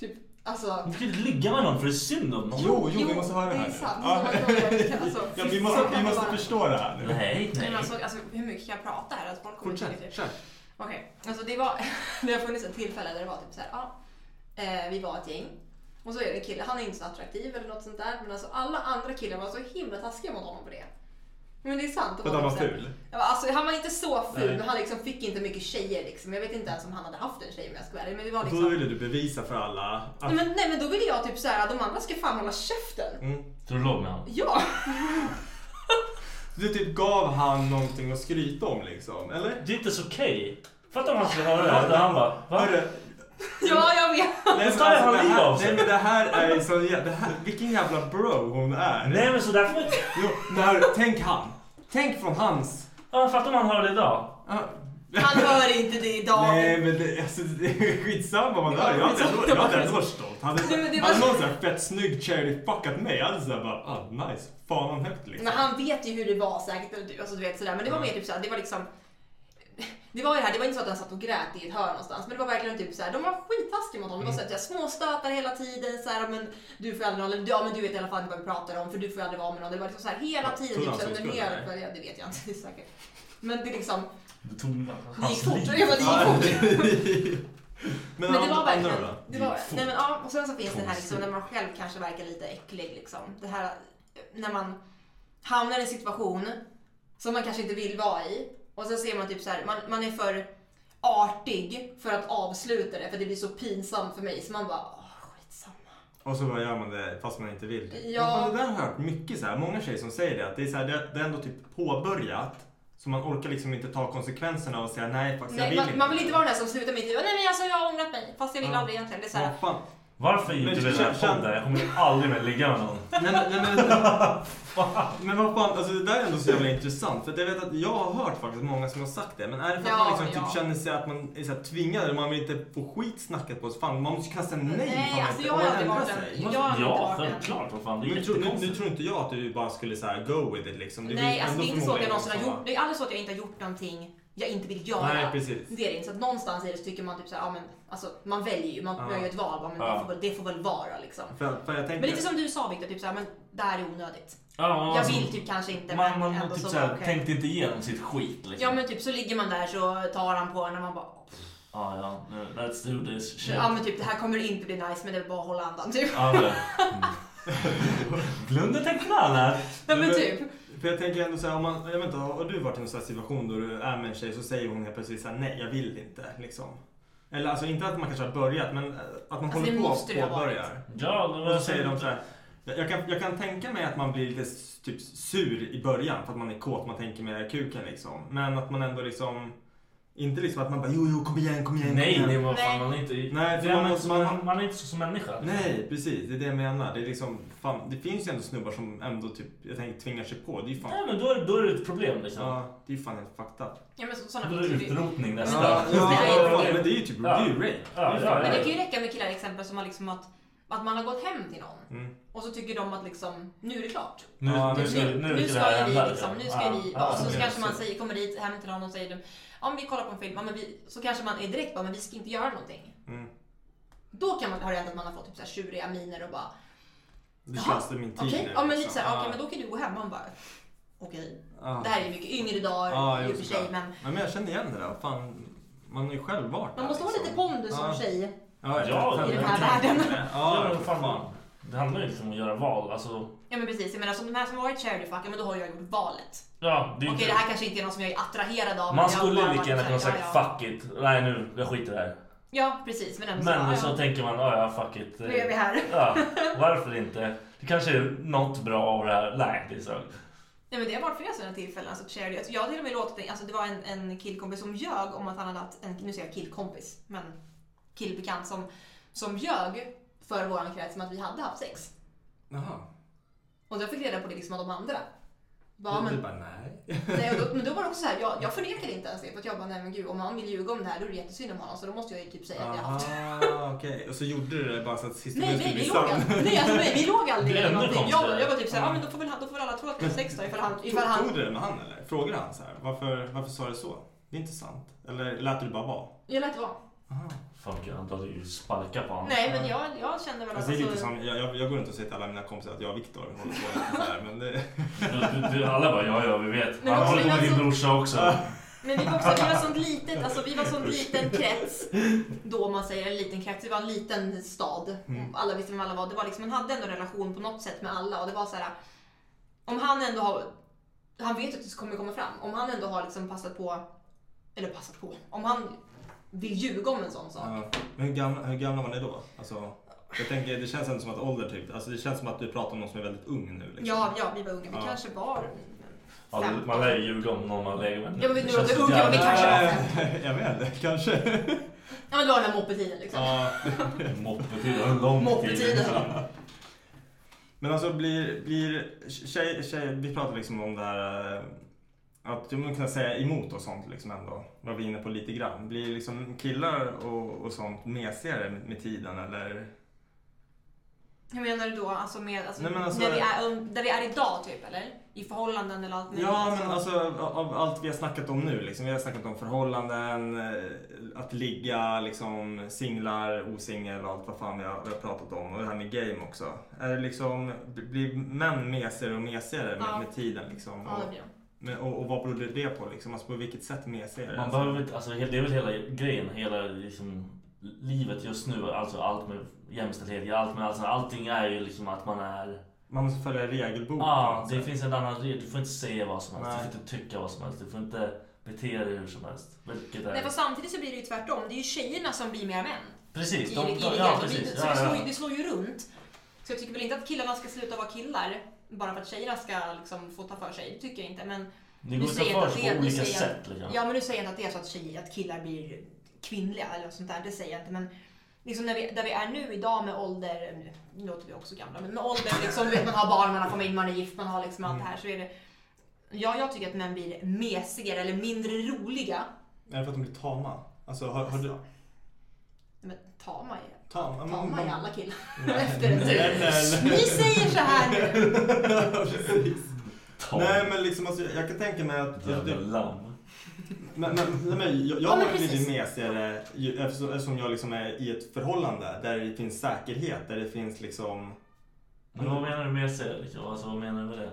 Typ, alltså. Du kan inte ligga med någon för det är synd om någon. Jo, jo, vi måste höra det här är nu. sant. Ja. Alltså, Ja, vi så måste, kan vi man måste bara- förstå det här nu. Nej, Men nej. alltså, alltså, hur mycket kan jag prata här? Alltså, folk kommer inte Fortsätt, riktigt- kör. Okej, alltså det, var, <laughs> det har funnits ett tillfälle där det var typ så här, ja, eh, vi var ett gäng och så är det en kille, han är inte så attraktiv eller något sånt där men alltså alla andra killar var så himla taskiga mot honom på det. Men det är sant. det För att han typ var så här- ful? Ja, Alltså, han var inte så ful Nej. men han liksom fick inte mycket tjejer liksom. Jag vet inte ens om han hade haft en tjej om jag ska vara ärlig, men vi var liksom... Då ville du bevisa för alla att... nej, men, nej men då ville jag typ så här, de andra ska fan hålla käften. Så du låg med honom? Ja! <laughs> Du typ gav han någonting att skryta om liksom, eller? Det är inte så okej. Fatta om han skulle höra det här. Då Han bara, va? Hörru, Ja, jag vet. Nej, tar han det livet här, av nej sig. men det här är ju så jä- det här, Vilken jävla bro hon är. Nej men så där får man inte... Jo, när, tänk han. Tänk från hans... Ja, Fatta om han hör det idag. Ja. Han hör inte det idag. Nej men det, alltså, det är skitsamma vad man Det var hör. Jag hade skitsamma. jag hade ändå varit stolt. Hade, Nej, men det var- hade någon sån här fett snygg charity fuckat mig, jag hade såhär bara ah nice, fan han högt liksom. Men han vet ju hur det var säkert. och du- Alltså, du vet, sådär. Men det var mer typ såhär, det var liksom... <laughs> Det var ju det här, det var inte så att han satt och grät i ett hörn någonstans. Men det var verkligen typ såhär, de var skittaskiga mot honom. Det var såhär, småstötar hela tiden. Såhär, men du får aldrig, eller ja men du vet i alla fall inte vad vi pratar om för du får aldrig vara med någon. Det var liksom såhär hela tiden. tog Typ, han såhär, sin under skuld, hela, ja, det vet jag inte det är säkert. Men det liksom, Du tog det gick hans fort. liv. Ja, men det gick fort. Men men, det var andra verkligen... då? Det var, Gick nej men, ja, och sen så finns det här Konstigt. liksom, när man själv kanske verkar lite äcklig. Liksom. Det här eh, när man hamnar i en situation som man kanske inte vill vara i. Och sen ser man typ så här, man, man är för artig för att avsluta det för det blir så pinsamt för mig. Så man bara, åh skitsamma. Och så bara gör man det fast man inte vill. det. Ja. Men fan, det där har jag hört mycket så här. många tjejer som säger det. Att det är, så här, det, det är ändå typ påbörjat. Så man orkar liksom inte ta konsekvenserna och säga nej faktiskt jag Nej, vill man, inte. man vill inte vara den här som slutar mitt liv. Nej men alltså jag har ångrat mig. Fast jag vill Ja. aldrig egentligen. Det är så här, Vad fan. Varför gick Men du till den här känn- podden? Jag kommer ju aldrig mer ligga med någon. Nej, men, nej, men, <laughs> men vad fan, alltså det där är ändå så jävla intressant. För att jag vet att jag har hört faktiskt många som har sagt det. Men är det för Ja, att man liksom ja. typ känner sig att man är så här tvingad eller man vill inte få skit snackat på sig? Fan, man måste kasta nej. Nej, fan, alltså inte- jag om har man aldrig ändrar varit en- sig. jag har aldrig Ja, varit en- självklart, vad fan, det är Men tror- nu, nu jättekonstigt. tror inte jag att du bara skulle så här go with it liksom. Du Nej, vill alltså det är ändå inte så att jag förmodligen någonsin har liksom gjort, det är aldrig så att jag inte har gjort någonting jag inte vill göra. Nej, precis. Det är det inte. Så att någonstans i det så tycker man typ såhär, ja men alltså man väljer ju, man Ja. gör ju ett val, bara, men Ja. det, får väl, det får väl vara liksom. För, för jag tänker... Men lite som du sa Viktor, typ såhär, men det här är onödigt. Ja, jag alltså, vill typ kanske inte Man, man men ändå typ så, såhär, okej. tänkte inte igenom sitt skit liksom. Ja men typ så ligger man där så tar han på en och man bara, Ja, ja. nu- Let's do this shit. ja men typ det här kommer inte bli nice men det är bara att hålla andan typ. Ja, men. Blunda tecknar här. Ja, men för- typ. För jag tänker ändå så här, om man, jag vet inte, <laughs> har du varit i någon sån här situation då du är med en tjej så säger hon helt plötsligt så här, nej jag vill inte liksom. Eller alltså inte att man kanske har börjat men eh, att man Alltså, det håller på måste det och ha varit. påbörjar. Ja, det var- och så säger de så här, jag jag kan, jag kan tänka mig att man blir lite s- typ sur i början för att man är kåt, man tänker med kuken liksom. Men att man ändå liksom, inte liksom att man bara jo jo kom igen, kom igen. kom Nej, igen. nej, vad fan, man är inte... Nej, för Ja, man, men måste- man, man, man, man är inte så som människa. Nej, precis. Det är det jag menar. Det, är liksom, fan, det finns ju ändå snubbar som ändå typ, jag tänker, tvingar sig på. Det är ju fan... Nej, men då är, då är det ett problem liksom. Ja, det är ju fan helt fucked up. Ja, men så, såna Då är finns det ju. utrotning nästa. Ja, Det är ja, ett problem. men det är ju typ- det är ju rape. Ja, Det är ja, fan- ja. Men det kan ju räcka med killar exempel som har liksom att, att man har gått hem till någon Mm. och så tycker de att liksom, nu är det klart. Nu- Ja, nu ska- nu Nu ska ska det här ju hända, vi liksom, nu ska ja. ju vi, Ja, och så ja, kanske man precis. säger, kommer dit hem till någon och säger om vi kollar på en film, ja, men vi, så kanske man är direkt bara, men vi ska inte göra någonting. Mm. Då kan man, har det hänt att man har fått typ så här tjuriga miner och bara, Det "Jaha, slösade min tid okej, nu, ja men lite liksom. så här, okej Ja. men då kan du gå hem. Man bara, okej, Ja. det här är ju mycket yngre dagar Ja, i jo, och för sig, såklart. men Ja, men jag känner igen det där. Fan, man har ju själv varit man måste ha lite pondus som tjej. Ja, Ja, i den ja, här världen. Ja, Ja, men fan, man. Det handlar ju liksom om att göra val. Alltså, Ja men precis, jag menar som de här som har varit charity fuck, ja, men då har jag gjort valet. ja, det Okej, är ju inte- det här kanske inte är någon som jag är attraherad av. men Man jag har bara skulle lika gärna varit kunna så här, sagt ja, ja. fuck it. Nej nu, jag skiter i det här. Ja, precis. Men, ändå så, Men ja, så ja. tänker man, ja ja fuck it. Nu är vi här. Ja, varför inte? Det kanske är något bra av det här. Nej, det är så. Nej, men det har varit flera sådana tillfällen. Alltså, charity. Alltså, jag har till och med låtit en, alltså, det var en, en killkompis som ljög om att han hade haft en, nu säger jag killkompis, men killbekant som, som ljög för våran krets om att vi hade haft sex. Jaha. Och jag fick reda på det liksom av de andra. Bara, Ja, men, Du bara, nej. <laughs> Nej, och då, men då var det också så här, jag, jag förnekade inte ens det. För att jag bara, nej men gud, om han vill ljuga om det här då är det jättesynd om honom. Så då måste jag ju typ säga att jag har haft Aha, okej. Och så gjorde du det bara så att sista Nej, nej, minuten vi blev låg sann. aldrig. <laughs> Nej, alltså, nej, vi låg aldrig. Det är eller ännu någonting. konstigare. Jag, jag var typ såhär, ja men då får väl, han- då får väl alla tro att det är sex då ifall han... Ifall Tog, han tog du det med han eller? Frågade han så här? Varför, varför sa du så? Det är inte sant. Eller lät du det bara vara? jag lät det vara. Fan, jag hade ju sparkat på honom. Nej, men jag, jag kände väl att... Alltså, det är lite som, jag, jag, jag går runt och säger till alla mina kompisar att jag och Viktor håller på lite så här, men det... Du- du- Alla bara, ja ja vi vet. Men Han också håller på med vi din har brorsa också. Men vi var också, vi var sånt litet, alltså vi var sån liten krets. Då om man säger en liten krets, vi var en liten stad. Mm. Alla visste vem alla var. Det var liksom, man hade ändå en relation på något sätt med alla och det var så här. Om han ändå har, han vet att det kommer komma fram. Om han ändå har liksom passat på, eller passat på, om han vill ljuga om en sån sak. Ja. Men hur gamla, hur gamla var ni då? Alltså, jag tänker, det känns ändå som att ålder typ, alltså det känns som att du pratar om någon som är väldigt ung nu. Liksom. Ja, ja, vi var unga. Vi Ja. kanske var... Ja, det- man lär ju ljuga om någon man lägger med. Ja, men vi- Det nu känns var det så unga, men vi jävla- kanske var <laughs> Jag vet inte, kanske. Ja, men det var den här moppetiden liksom. Ja. Moppetiden, en lång tid. Moppetiden. Men alltså blir, blir tjej, tjej, vi pratar liksom om det här eh, att man kan säga emot och sånt liksom ändå. Vad vi är inne på lite grann. Blir liksom killar och, och sånt mesigare med, med tiden eller? Hur menar du då? Alltså med, alltså, Nej, men alltså- när vi är, um, där vi är idag typ eller? I förhållanden eller allt möjligt, Ja, men alltså av av allt vi har snackat om nu. Liksom, vi har snackat om förhållanden, eh, att ligga, liksom, singlar, osingel och allt vad fan vi har, vi har pratat om. Och det här med game också. Är det liksom, blir män mesigare och mesigare med, Ja. med tiden? Liksom, Ja, det och, blir de. men, och, och vad beror det på? Liksom? Alltså, på vilket sätt mesigare? Man behöver inte, alltså, det är väl hela grejen, hela liksom, livet just nu, alltså allt med jämställdhet, allt med, alltså, allting är ju liksom att man är... Man måste följa regelboken. Ja, det finns en annan regel. Du får inte säga vad som helst, Nej. du får inte tycka vad som helst, du får inte bete dig hur Alltså, som helst. Vilket är... Nej, för samtidigt så blir det ju tvärtom. Det är ju tjejerna som blir mer män. Precis, I, de- i, de- i, ja, det blir- precis. Så Ja, det slår, ja. ju- det slår ju runt. Så jag tycker väl inte att killarna ska sluta vara killar bara för att tjejerna ska liksom få ta för sig. Det tycker jag inte. Men Det går nu att ta säger jag för inte sig att på det- nu olika säger jag- sätt, liksom. Ja, men nu säger jag inte att det är så att, tjejer, att killar blir kvinnliga eller något sånt där. Det säger jag inte. Men liksom när vi, där vi är nu idag med ålder, nu- nu låter vi också gamla, men med ålder liksom, du vet man har barn, man har familj, man är gift, man har liksom allt det här. Så är det, ja, jag tycker att män blir mesigare eller mindre roliga. Är det för att de blir tama? Alltså, har, har du... Nej, men ta mig. Tama? Ta mig man- alla killar. <laughs> Nej, Efter en nej, tid. nej, nej. Ni säger så här nu. Ja, precis. Nej men liksom alltså, jag kan tänka mig att... Jävla att du- lamm. Men, men, nej, men jag, jag Ja, men har varit precis. lite mesigare ju- eftersom, eftersom jag liksom är i ett förhållande där det finns säkerhet, där det finns liksom... Men vad menar du med sig? Liksom? Alltså, vad menar du med det?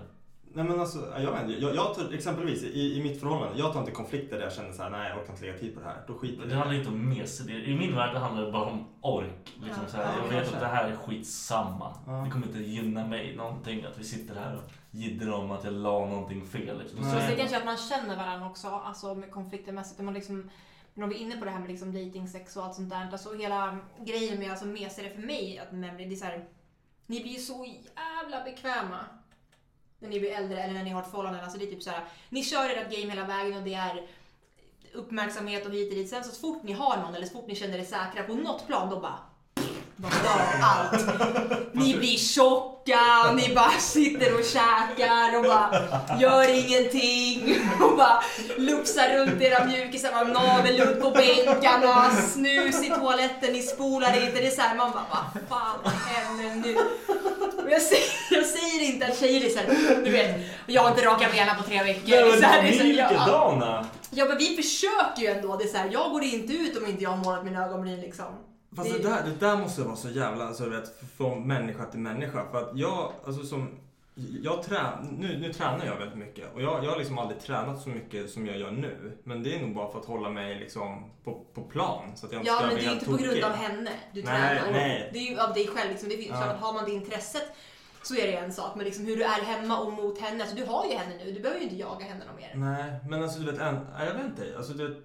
Nej men alltså, jag vet inte. Jag, jag tar, exempelvis i, i mitt förhållande, jag tar inte konflikter där jag känner så här, nej jag orkar inte lägga tid på det här. Då Men skiter jag det i handlar inte om mesig. Det- I min värld det handlar det bara om ork. Liksom Ja, så här, ja, jag vet kanske. att det här är skitsamma. Ja. Det kommer inte gynna mig någonting att vi sitter här och jiddrar om att jag la någonting fel. Liksom. Och sen är- kanske att man känner varandra också, alltså med konfliktermässigt. Man liksom, när vi är inne på det här med liksom dating, sex och allt sånt där. Alltså hela grejen med, alltså mesigare för mig, att män blir, det är så här, ni blir ju så jävla bekväma. När ni blir äldre eller när ni har ett förhållande. Alltså det är typ så här, ni kör ert game hela vägen och det är uppmärksamhet och hit och dit. Sen så fort ni har någon eller så fort ni känner er säkra på något plan, då bara de dör allt. Ni blir tjocka, ni bara sitter och käkar och bara gör ingenting. Och bara lufsar runt era mjukisar, man navelludd på bänkarna, snus i toaletten, ni spolar inte. Det är såhär, man bara vad fan händer nu? Och jag, säger, jag säger inte att tjejer är såhär, du vet, jag har inte rakat benen på tre veckor. Nej, men Så här, ni så är här, ja. likadana! Ja men vi försöker ju ändå. Det är så här, jag går inte ut om inte jag har målat mina ögonbryn liksom. Fast det där, det där måste vara så jävla, alltså, du vet, från människa till människa. För att jag, alltså som, jag trän, nu, nu tränar jag väldigt mycket. Och jag, jag har liksom aldrig tränat så mycket som jag gör nu. Men det är nog bara för att hålla mig liksom på, på plan. Så att jag inte Ja ska men bli det är ju helt inte på grund tokig. av henne du Nej, tränar. nej. Det är ju av dig själv. Liksom. Det är ju Ja. klart att har man det intresset så är det en sak. Men liksom hur du är hemma och mot henne. Alltså, du har ju henne nu. Du behöver ju inte jaga henne någon mer. Nej, men alltså du vet, en, nej, jag vet inte. Alltså, du vet,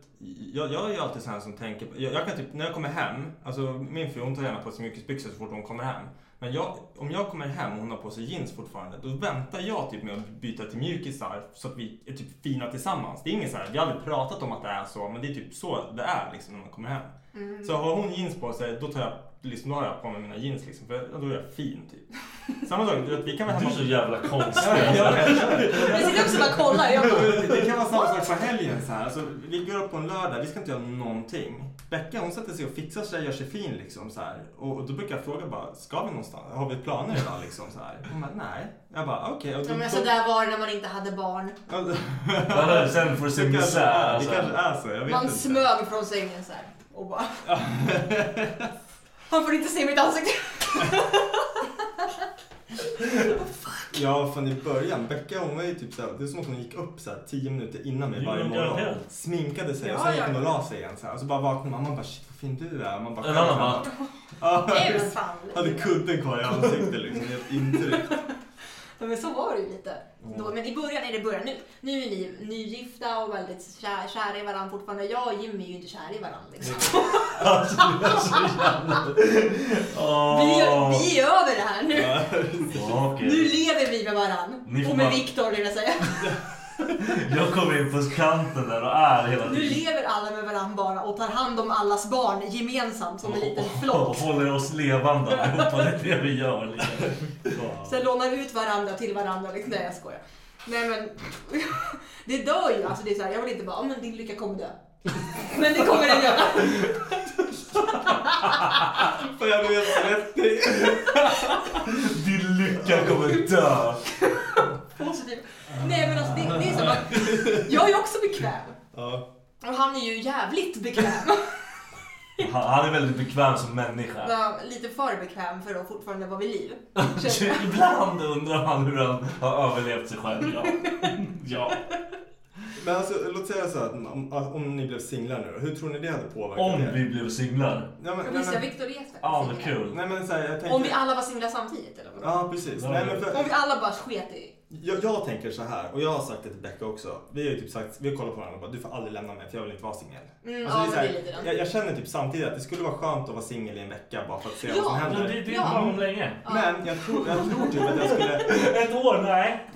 jag, jag är ju alltid sån här som tänker, på- jag, jag kan typ, när jag kommer hem, alltså min fru hon tar gärna på sig mjukisbyxor så fort hon kommer hem. Men jag, om jag kommer hem och hon har på sig jeans fortfarande, då väntar jag typ med att byta till mjukisar så att vi är typ fina tillsammans. Det är inget så här, vi har aldrig pratat om att det är så, men det är typ så det är liksom när man kommer hem. Mm. Så har hon jeans på sig, då tar jag Liksom, då har jag på mig mina jeans liksom, för då är jag fin <laughs> typ. Samma sak, du vet, vi kan vara Du är hemma... så jävla konstig. Ja, jag- jag- Jag sitter också och bara <laughs> kollar. Jag bara, det kan vara samma sak på helgen. Så här. Alltså, vi går upp på en lördag, vi ska inte göra någonting. Becka hon sätter sig och fixar sig, gör sig fin. Liksom, så här. Och, och då brukar jag fråga bara, ska vi någonstans? Har vi planer idag? Liksom, så här. Hon bara, nej. Jag bara, okej. ja, men alltså, så där var det när man inte hade barn. Ja, sen får du se Det kanske misär. är- det Alltså. kanske är så, jag vet Man inte. smög från sängen så här och bara... Han får inte se mitt ansikte. Ja, från i början. Becka hon var ju typ så här, det är som att hon gick upp så här, tio minuter innan mig Jo, varje men morgon. garanterat. Sminkade sig och Ja, sen gick ja, hon och ja. la sig igen. Så här. Och så bara vaknade man. Man bara, shit vad fin du är. Man bara, En annan bara, <laughs> Ja, Nej, men visst. fan. Hade kudden kvar i ansiktet liksom. Helt intryck. Ja, men så var det ju lite. Mm. Då, men i början är det början nu. Nu är ni nygifta och väldigt kär, kära i varandra fortfarande. Jag och Jimmy är ju inte kära i varandra. Liksom. alltså du är så jävla... Åh. Vi, är- vi är över det här nu. Okej. Nu lever vi med Ni varandra. får Och med bara- Viktor vill jag säga. <laughs> Jag kommer in på kanten där och är hela Nu lever alla med varandra bara och tar hand om allas barn gemensamt som en liten Och flock. håller oss levande allihopa. Det är det vi gör. Liksom. Ja. Sen lånar ut varandra till varandra. Liksom. Nej jag skojar. Nej men. Det dör ju. Alltså, det är så här, jag vill inte bara, "Ja, men din lycka kommer dö. Men det kommer den göra. För jag blev svettig. <laughs> Din lycka kommer dö. positiv. Nej men alltså det, det är som att jag är också bekväm. Ja. Och han är ju jävligt bekväm. <laughs> Han, han är väldigt bekväm som människa. Ja, Lite för bekväm för att fortfarande vara vid liv. Så Känner jag. <laughs> Ibland undrar man hur han har överlevt sig själv. Ja. ja. Men alltså, låt säga så att om, om ni blev singlar nu då, Hur tror ni det hade påverkat Om er? vi blev singlar. Ja, men, Ja, nej, Visst, jag men, Viktor är faktiskt Ja, vad singel. kul. nej men så här, jag tänker... Om vi alla var singlar samtidigt eller? vadå? Ja, precis. Ja. Nej, men för, Om vi alla bara sket i jag, jag tänker så här, och jag har sagt det till Becka också. Vi har ju typ sagt, vi har kollat på varandra och bara, du får aldrig lämna mig för jag vill inte vara singel. Mm, Alltså, ja, det men det är så är lite här, den. jag, jag känner typ samtidigt att det skulle vara skönt att vara singel i en vecka bara för att se Ja, vad som händer. men det- det är Ja. bra om länge. Men jag tror, jag tror typ att jag skulle... Ett år? Nej. <laughs>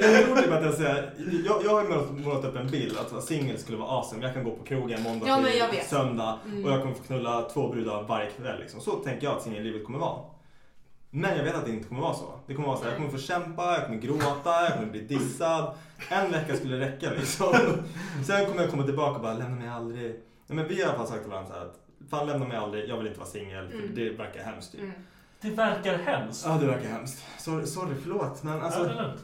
jag tror typ att jag säger, jag, jag har ju målat, målat upp en bild att vara singel skulle vara awesome. Jag kan gå på krogen måndag Ja, men till jag vet. söndag Mm. och jag kommer få knulla två brudar varje kväll. Liksom. Så tänker jag att singellivet kommer vara. Men jag vet att det inte kommer vara så. Det kommer vara så här, jag kommer få kämpa, jag kommer gråta, jag kommer bli dissad. En vecka skulle räcka <laughs> liksom. Sen kommer jag komma tillbaka och bara, lämna mig aldrig. Nej, men vi har i alla fall sagt till varandra så här att, fan lämna mig aldrig, jag vill inte vara singel, för Mm. det verkar hemskt typ. Det verkar hemskt. Ja, det verkar hemskt. Sorry, sorry förlåt. Men Ja, det är alltså, lugnt.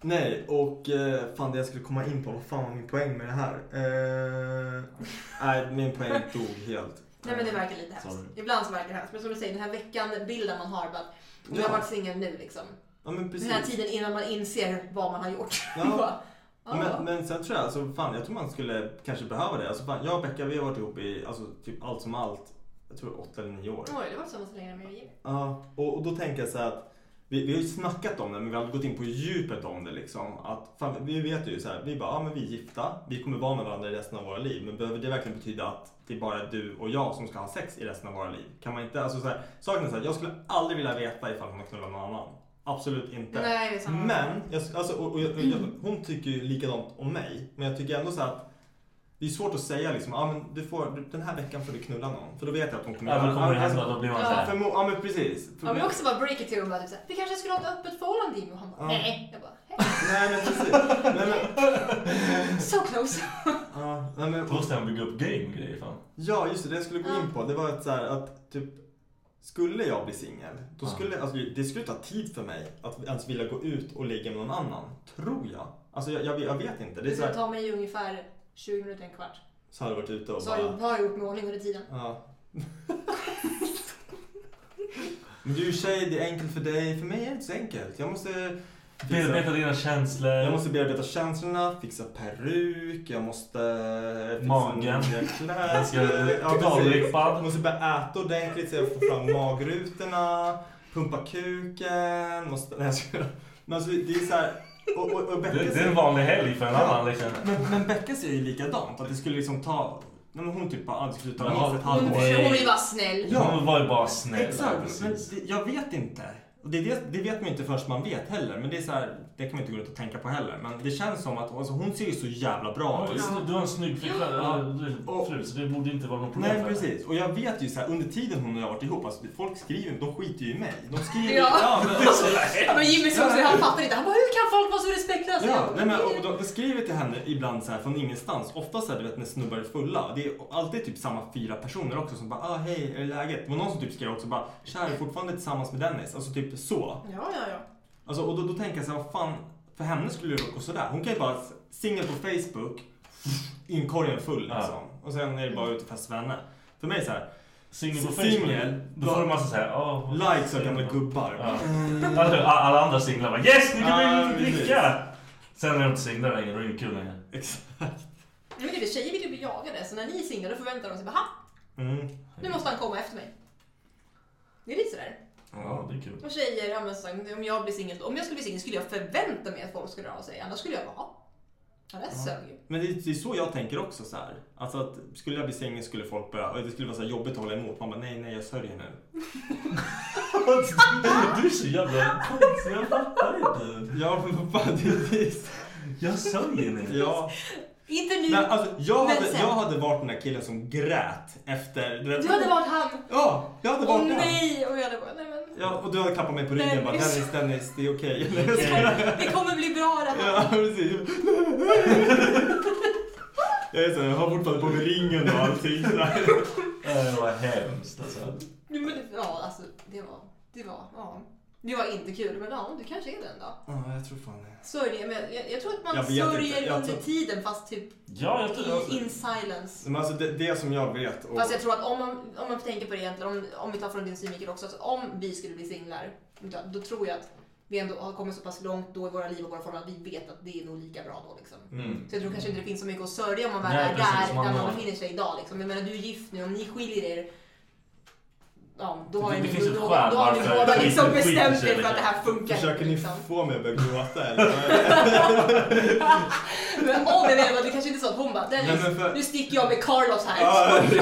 nej, och eh, fan det jag skulle komma in på, vad fan var min poäng med det här? <laughs> Eh, nej, min poäng dog helt. Nej men det verkar lite hemskt. Mm. Sorry. Ibland så verkar det hemskt. Men som du säger, den här veckan, bilden man har. Bara, jag Ja. har varit singel nu liksom. Ja, men precis. Den här tiden innan man inser vad man har gjort. Ja. <laughs> Bara, ja. Men, men sen tror jag, alltså, fan, jag tror man skulle kanske behöva det. Alltså, fan, jag och Becka vi har varit ihop i alltså, typ allt som allt, jag tror åtta eller nio år. Oj, det var så måste länge med mig. Ja, och, och då tänker jag så här att vi, vi har ju snackat om det, men vi har aldrig gått in på djupet om det. Liksom. Att, fan, vi vet ju så här, vi bara, ja men vi är gifta, vi kommer vara med varandra i resten av våra liv. Men behöver det verkligen betyda att det är bara du och jag som ska ha sex i resten av våra liv? Kan man inte, alltså så här, saken är så här, jag skulle aldrig vilja veta ifall hon har knullat någon annan. Absolut inte. Nej, det är samma. men, jag, alltså, och, och, jag- och, jag, hon tycker ju likadant om mig. Men jag tycker ändå så här att det är svårt att säga liksom, ah, men du får, du, den här veckan får du knulla någon. För då vet jag att hon kommer... Ja, men kommer det alltså- hända, då blir man ja, så här. förmo- ja, men precis. Ja, men också bara break it to him. Bara, typ, så här, vi kanske skulle ha ett öppet förhållande Jimmy. Och han bara, Ja. nej. Jag bara, <laughs> Nej men <laughs> precis. Nej, men, so close. ja, nej, men, Då måste han bygga upp game grejer fan. ja just det, det jag skulle gå in på det var att, så här, att typ skulle jag bli singel, då Ja. skulle, alltså, det skulle ta tid för mig att ens vilja gå ut och ligga med någon annan. Tror jag. Alltså jag, jag, jag vet inte. Det är Det så, skulle här, ta mig ungefär 20 minuter, en kvart. så har jag varit ute och Så har jag bara... har jag gjort mig i ordning under tiden. Ja. <laughs> Men du är tjej, det är enkelt för dig. För mig är det inte så enkelt. Jag måste... Bearbeta dina känslor. Jag måste bearbeta känslorna, fixa peruk, jag måste fixa Magen. nya Jag ska kläder. totalrippad. precis. jag måste börja äta ordentligt så jag får fram magrutorna, pumpa kuken, måste... Nej, jag skojar. Men alltså det är så här... Och, och, och Becka Det, det är säger- en vanlig helg för en annan liksom. Men, men Becka säger ju likadant, att det skulle liksom ta... Nej, men hon typ bara, ah, det skulle ta Men minst ett Hon, hon halvår. är ju bara snäll. Ja. Hon var ju bara snäll. Exakt, men precis. det, jag vet inte. Och det, det, det vet man ju inte förrän man vet heller. Men det är så här, det kan man inte gå runt och tänka på heller. Men det känns som att alltså, hon ser ju så jävla bra Ja, ut. just det, Du har en snygg flickvän, Ja. eller du- Och- fru, så det borde inte vara något problem Nej för henne. precis, och jag vet ju så här, under tiden hon och jag har varit ihop, alltså, folk skriver, de skiter ju i mig. De skriver Ja. men, alltså, Ja, Men Jimmy såg så här, han fattar inte. Han bara, hur kan folk vara så respektlösa? Ja, Jag bara, nej, men, och de, de skriver till henne ibland så här från ingenstans. Ofta så här, du vet när snubbar är fulla. Det är alltid typ samma fyra personer också som bara ah, hej, är det läget? Det var någon som typ skrev också bara kär, är fortfarande tillsammans med Dennis. Alltså typ så. Ja, ja, ja. Alltså, och då, då tänker jag så här, vad fan, för henne skulle det gå sådär. Hon kan ju bara s- singel på Facebook, inkorgen full Ja. liksom. Och sen är det bara ut och festa med henne. För mig så här, Singel på Facebook. singel, Då får du massa såhär, åh... likes av gamla gubbar. Ja. Mm. Alla- Alla andra singlar bara yes, nu kan Ja, vi precis. dricka! Sen är de inte singlar längre, då är det inte kul längre. Exakt. Men det är det, tjejer vill ju bli jagade. Så när ni är singlar då förväntar de sig bara, ha, Mm. nu måste han komma efter mig. Det är lite sådär. Ja, det är kul. Och tjejer, ja, men, så, om jag blir singel, om jag skulle bli singel skulle jag förvänta mig att folk skulle höra av sig. Annars skulle jag bara, ha. Ja, det sög ju. Men det, är- det är så jag tänker också så här. Alltså att skulle jag bli singel skulle folk börja, och det skulle vara så här jobbigt att hålla emot. Man bara nej, nej, jag sörjer nu. <laughs> Du är så jävla konstig, jag fattar inte. Ja, men vad fan, det är visst. Jag sörjer nu. Ja. Inte nu. Men alltså, jag Men hade, sen. jag hade varit den där killen som grät efter... vet- Du hade varit han. Ja, jag hade Åh varit den. nej! Och jag hade bara, nej men. Ja, och du hade klappat mig på ryggen och bara Dennis. Dennis, Dennis, det är okej. Det kommer bli bra det här. ja, precis. Jag är så här, jag har fortfarande på mig ringen och allting sådär. Det var hemskt alltså. Nu, men, det- ja, alltså det var, det var, ja. Det var inte kul, men ja, du kanske är den då. Ja, jag tror fan det. Sörjer, men jag, jag tror att man Jag vet sörjer inte. Jag under tror- tiden fast typ Ja, jag tror i, alltså. in silence. Men alltså det, det som jag vet och... Fast jag tror att om man, om man tänker på det egentligen, om, om vi tar från din synvinkel också, alltså om vi skulle bli singlar, då, då tror jag att vi ändå har kommit så pass långt då i våra liv och våra förhållanden att vi vet att det är nog lika bra då liksom. Mm. Så jag tror kanske inte det finns så mycket att sörja om man väl Nej, är precis, där, man där man har- befinner sig idag liksom. Jag menar du är gift nu, om ni skiljer er, ja, då har Det- ju det ni- finns ju ett då- skäl då har ni varför båda skiten liksom skiter bestämt sig er för att det här funkar. Försöker ni liksom. få mig att börja gråta <laughs> eller? Men åh, men nej, men det kanske inte är så att hon bara, "Den- Nej, men för- nu sticker jag med Carlos här. Ja, Nej,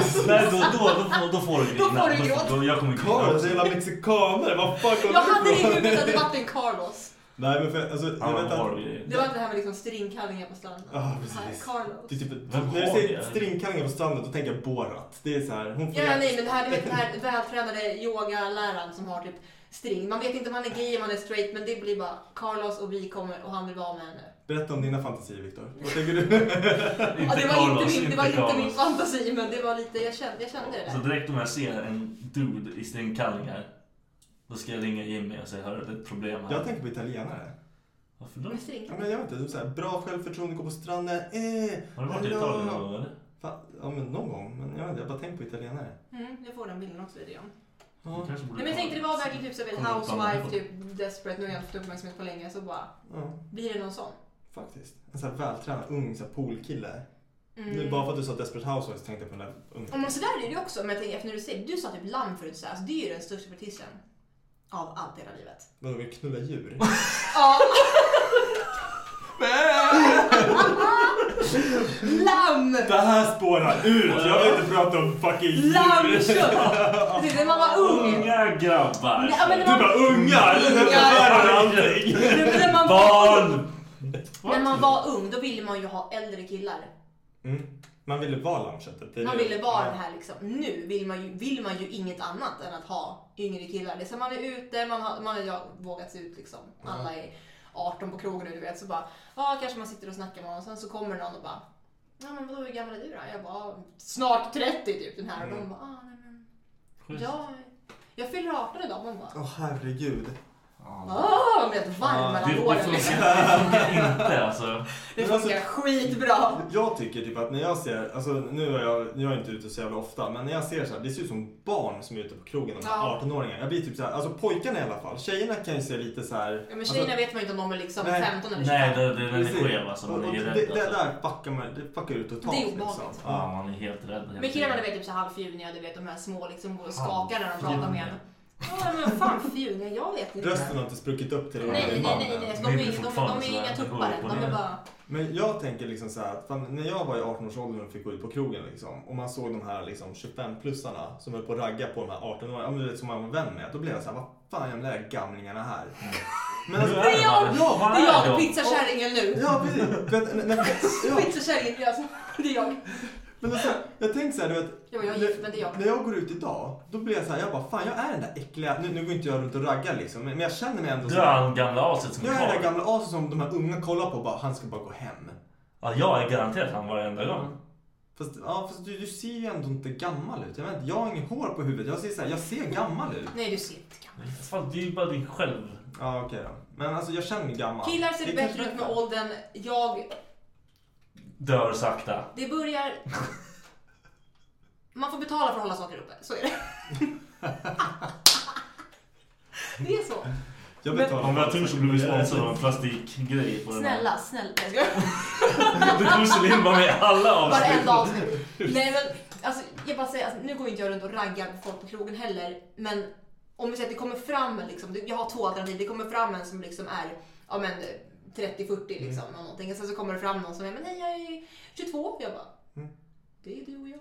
då, då, då, får- då får du Då får du gråta. Då, jag kommer grina Carlos, också. jävla mexikanare, vad fan kom jag du hade det i ifrån? huvudet att det var en Carlos. Nej men för, alltså, jag var vet att... horrible. Det var inte det här med liksom stringkallingar på stranden. Ja, Här, precis. Carlos. Det är typ, Vem när du har ser det? stringkallingar på stranden då tänker jag Borat. Det är så här, hon får Ja, jävla- nej, men det här, du vet, den här vältränade yogaläraren som har typ string. Man vet inte om han är gay, om han är straight, men det blir bara Carlos och vi kommer och han vill vara med henne. Berätta om dina fantasier Viktor. Vad tänker Mm. du? Ja, det var Carlos, inte min, det var inte inte min Carlos. fantasi, men det var lite, jag kände, jag kände det Så där. direkt om jag ser en dude i stringkallingar, då ska jag ringa Jimmy och säga hörru det är ett problem här. Jag tänker på italienare. Varför då? Med Ja, string. men jag vet inte, typ så här, bra självförtroende, gå på stranden, eh, Har du varit i hallå. Italien någon gång eller? Fan, Ja men någon gång, men jag vet inte, jag bara tänker på italienare. Mm, jag får den bilden också i videon. Ja, Kanske borde Nej, men jag tänkte det var verkligen typ såhär, Kommer upp på andra housewife, håll. typ desperate, nu har jag inte fått uppmärksamhet på länge, så bara ja blir det någon sån. faktiskt. En så här vältränad ung så här, poolkille. Mm. Nu bara för att du sa Desperate Housewives tänkte jag på den där Ja, ungen. men så där är det ju också, men jag tänker efter när du säger du sa typ lamm förut, så här, alltså, det är ju den största fetischen av allt i hela livet. Vadå, vill knulla djur? Ja. <laughs> Lamm! <laughs> det här spårar ut! Jag vill inte prata om fucking djur! Lammkött! Jag tyckte När man var ung. Unga grabbar! Ja, men Du när man, bara ungar! Det här är allting! <laughs> Nej, men när, man var, Barn! när man var ung, då ville man ju ha äldre killar. Mm. Man ville vara lammköttet. det är Man det. ville vara Ja. den här liksom. Nu vill man, ju, vill man ju inget annat än att ha yngre killar. Det är så här, man är ute, man har, man har ja, vågat sig ut liksom. Alla är 18 på krogen nu du vet. Så bara, ja kanske man sitter och snackar med någon och sen så kommer någon och bara, ja men vadå hur gammal är du då? Jag bara, "Ja, snart 30 typ den här. Mm. Och de bara, ah, nej men. Jag, jag fyller 18 idag. Man bara, Åh herregud. ah, man blir helt varm Det, det, mellan funkar, åren. det liksom. funkar inte alltså. Det Men alltså- funkar skitbra. Jag tycker typ att när jag ser, alltså nu är jag, jag är inte ute så jävla ofta, men när jag ser så här, det ser ut som barn som är ute på krogen, de här Ja. 18-åringarna. Jag blir typ så här, alltså pojkarna i alla fall, tjejerna kan ju se lite så här. Ja, men tjejerna alltså, vet man ju inte om de är liksom Nej. 15 eller 25. Nej, det, det, den är precis. skev alltså. Man Och- och är ju det, rädd det, det alltså. där fuckar man, det fuckar ut totalt liksom. Det är obehagligt. Ja, Ja. man är helt rädd. hela Men killarna du tiden. vet typ så halvfjuniga, du vet de här små liksom går och Halv- skakar när de pratar med fjuniga. en. Ja men fan fjuniga, jag vet inte. Rösten har inte spruckit upp till det Nej nej vanliga nej, mannen. nej. Det De, är ju är, inga- de, fortfarande de är inga sådär. Det går tuppare. upp och De är ner. bara... Men jag tänker liksom så här att fan, när jag var i 18-årsåldern och fick gå ut på krogen liksom, och man såg de här liksom 25-plussarna som höll på att ragga på de här 18-åringarna, ja, men du vet, som man var vän med. Då blev jag så här, vad fan jävla är gamlingarna här? Men alltså, Det är jag! Mm. Det är jag, pizzakärringen nu. Ja, precis. Vet- när- när- ja, Pizzakärringen, det är alltså- det är jag. men alltså, jag tänker så här, du vet. Jo, jag är gift, men det är jag. När jag går ut idag, då blir jag så här, jag bara fan jag är den där äckliga, nu, nu går inte jag runt och raggar liksom, men men jag känner mig ändå Du så här, är den gamla aset som Jag är är det där kvar. gamla aset som de här unga kollar på och bara, han ska bara gå hem. Ja, jag är garanterat han varenda gång. Fast, ja, fast du, du ser ju ändå inte gammal ut. Jag, vet, inte, jag har inget hår på huvudet. Jag ser, så här, jag ser gammal ut. Nej du ser inte gammal Fan, det är ju bara din själv. Ja, okej då. Men alltså, jag känner mig gammal. Killar ser Det bättre kanske ut med åldern. Jag... Dör sakta. Det börjar... Man får betala för att hålla saker uppe. Så är det. Det är så. Jag betalar Om vi har för tur det. så blir vi sponsrade av en plastikgrej på den här. Snälla, snälla. Jag skojar. Du kommer in med i alla avsnitt. Varenda avsnitt. Nej men alltså, jag bara säger, alltså, nu går inte jag runt och raggar på folk på krogen heller. Men om vi säger att det kommer fram en liksom, det- jag har två alternativ. Det kommer fram en som liksom är, ja men 30-40 liksom. Mm. Någonting. Och sen så kommer det fram någon som är, men nej jag är 22. Jag bara, det är du och jag.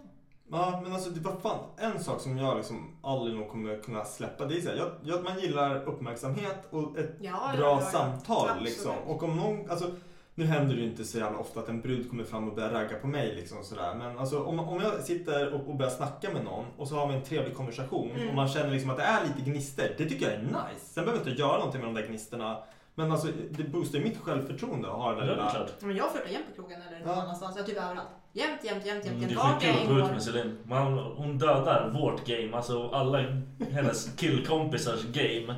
Ja, men alltså, det var fan en sak som jag liksom aldrig nog kommer kunna släppa. Det är så här, jag, jag, man gillar uppmärksamhet och ett Ja, bra ja, ja, ja. samtal Absolut. liksom. Och om någon, alltså, nu händer det ju inte så jävla ofta att en brud kommer fram och börjar ragga på mig liksom sådär. Men alltså om, om jag sitter och, och börjar snacka med någon och så har vi en trevlig konversation Mm. och man känner liksom att det är lite gnistor. Det tycker jag är nice. Sen behöver jag inte göra någonting med de där gnistorna. Men alltså det boostar ju mitt självförtroende att ha den Ja, det där är lilla... klart. Men jag flörtar jämt på krogen eller någon Ja. annanstans. Jag typ överallt. Jämt, jämt, jämt, jämt. Det är jämt. Vart jag skitkul än att gå ut med går. Celine. Man, hon dödar vårt game, alltså alla hennes killkompisars game.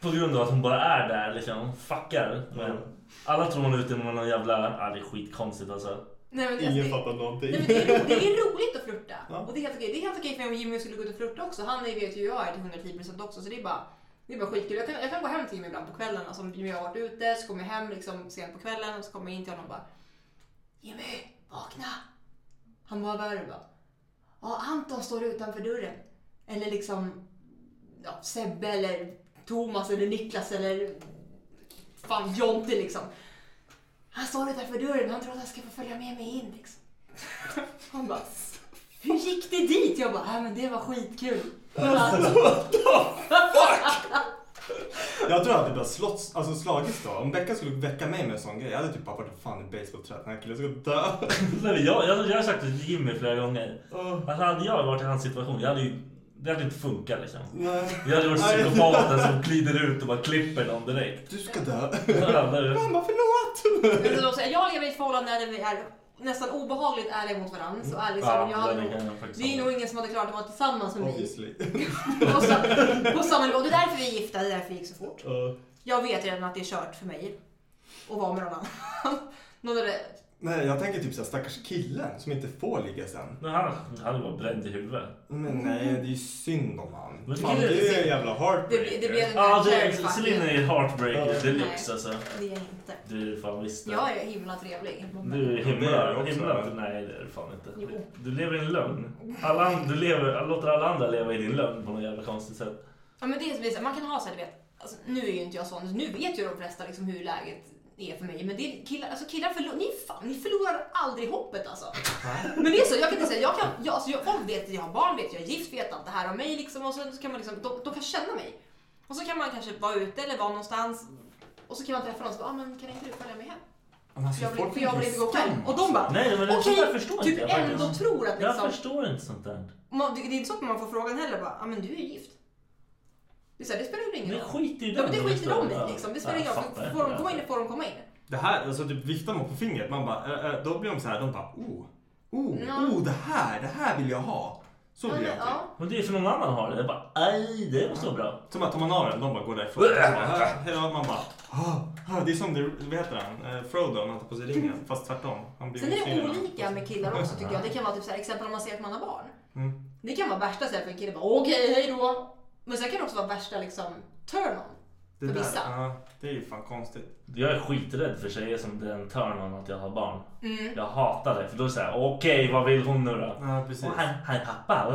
På grund av att hon bara är där liksom, hon fuckar. Men alla tror hon är ute med någon jävla... Ja, det är skitkonstigt alltså. Nej, men det- Ingen det- fattar någonting. Nej, men det, är, ro- det är roligt att flirta. Ja. Och det är helt okej. Det är helt okej för mig om Jimmy skulle gå ut och flirta också. Han är- vet ju hur jag är till 110% också. Så det är bara, det är bara skitkul. Jag kan, jag kan gå hem till Jimmy ibland på kvällen. Alltså, om Jimmy har varit ute så kommer jag hem liksom, sent på kvällen och så kommer jag in till honom och bara Jimmy, vakna! Han bara, vad är det? Jag bara, ja, Anton står utanför dörren. Eller liksom ja, Sebbe eller Thomas eller Niklas eller fan Jonte liksom. Han står utanför dörren han tror att han ska få följa med mig in liksom. Han bara, hur gick det dit? Jag bara, äh, men det var skitkul. Jag tror att det bara slåss, alltså slagits då. Om Becka skulle väcka mig med en sån grej, jag hade typ bara varit fan i basebollträ. Den här killen ska dö. <laughs> Nej, jag, jag, jag har sagt det till Jimmy flera gånger. Oh. Alltså, hade jag varit i hans situation, jag hade ju, det hade inte funkat liksom. Nej. Jag hade varit Nej. psykopaten som glider ut och bara klipper någon direkt. Du ska dö. Mamma, förlåt! jag lever i ett förhållande där vi är nästan obehagligt ärliga mot varandra. Så ärlig som Ja, jag hade det nog, kan jag faktiskt det är hålla nog ingen som hade klarat att vara tillsammans med mig Obviously. på, sa- på samma nivå. Det är därför vi är gifta, det är därför det gick så fort. Ja. Jag vet redan att det är kört för mig att vara med någon annan. <laughs> Någon är det. Nej, jag tänker typ såhär stackars killen som inte får ligga sen. Men han, han var bränd i huvudet. Men nej, det är ju synd om han. Mm. Men Fan, det- det är en jävla heartbreaker. Det- det blir en- Ja, det är, Kärlek, Celine är heartbreaker deluxe alltså. Det är jag inte. Du är det fan visst det. Jag är himla trevlig. Du Ja, är det är du himla, också. himla... Nej, det är du fan inte. Jo. Du lever i en lögn. Alla, an- du lever, låter alla andra leva i din lögn på något jävla konstigt sätt. Ja, men det är som vi säger, man kan ha så här, du vet. Alltså, nu är ju inte jag sån, nu vet ju de flesta liksom hur läget är för mig. Men det är killar, alltså killar förlorar, ni, är fan, ni förlorar aldrig hoppet alltså. Men det är så, jag kan inte säga, jag kan, jag, alltså, jag, folk vet att jag har barn, vet jag är gift, vet allt det här om mig liksom. Och sen så kan man liksom, de, de kan känna mig. Och så kan man kanske vara ute eller vara någonstans. Och så kan man träffa någon som bara, ah, men kan inte du följa med hem? alltså, För jag vill- för jag vill inte gå själv. Och de bara, Nej, men det okej, sånt där förstår typ inte jag faktiskt. ändå tror att Jag liksom- förstår inte sånt där. Man, det, det är inte så att man får frågan heller bara, ah, men du är ju gift. Det, är så här, det spelar ju ingen Det skiter ju Ja, men det de i skiter de historien. i liksom. Det spelar Ja, ingen roll. jag fattar. Får de komma in, får de komma in. Det här, alltså typ viftar man på fingret, man bara, eh, eh, då blir de så här, de bara, oh, oh, Ja. oh, det här, det här vill jag ha. Så Ja, blir jag men, typ. ja. Men det är för någon annan har det. Jag bara, aj, det var så bra. Som att tar man av den, de bara går därifrån. Så bara, "Hä?" Hej då, man bara, "Ah, ah." Mm. det är som, det, vad heter han, Eh, Frodo, när han tar på sig ringen, fast tvärtom. Han blir Sen är det snygg. olika med killar också tycker jag. Det kan vara typ så här, exempel om man ser att man har barn. Mm. Det kan vara värsta så här, för en kille bara, okej, hej då. Men sen kan det också vara värsta liksom, turn-on. Det För där, vissa. ja, det är ju fan konstigt. Jag är skiträdd för tjejer som den turn on att jag har barn. Mm. Jag hatar det. För då är det såhär, okej vad vill hon nu då? Ja, precis. Och han, han är pappa.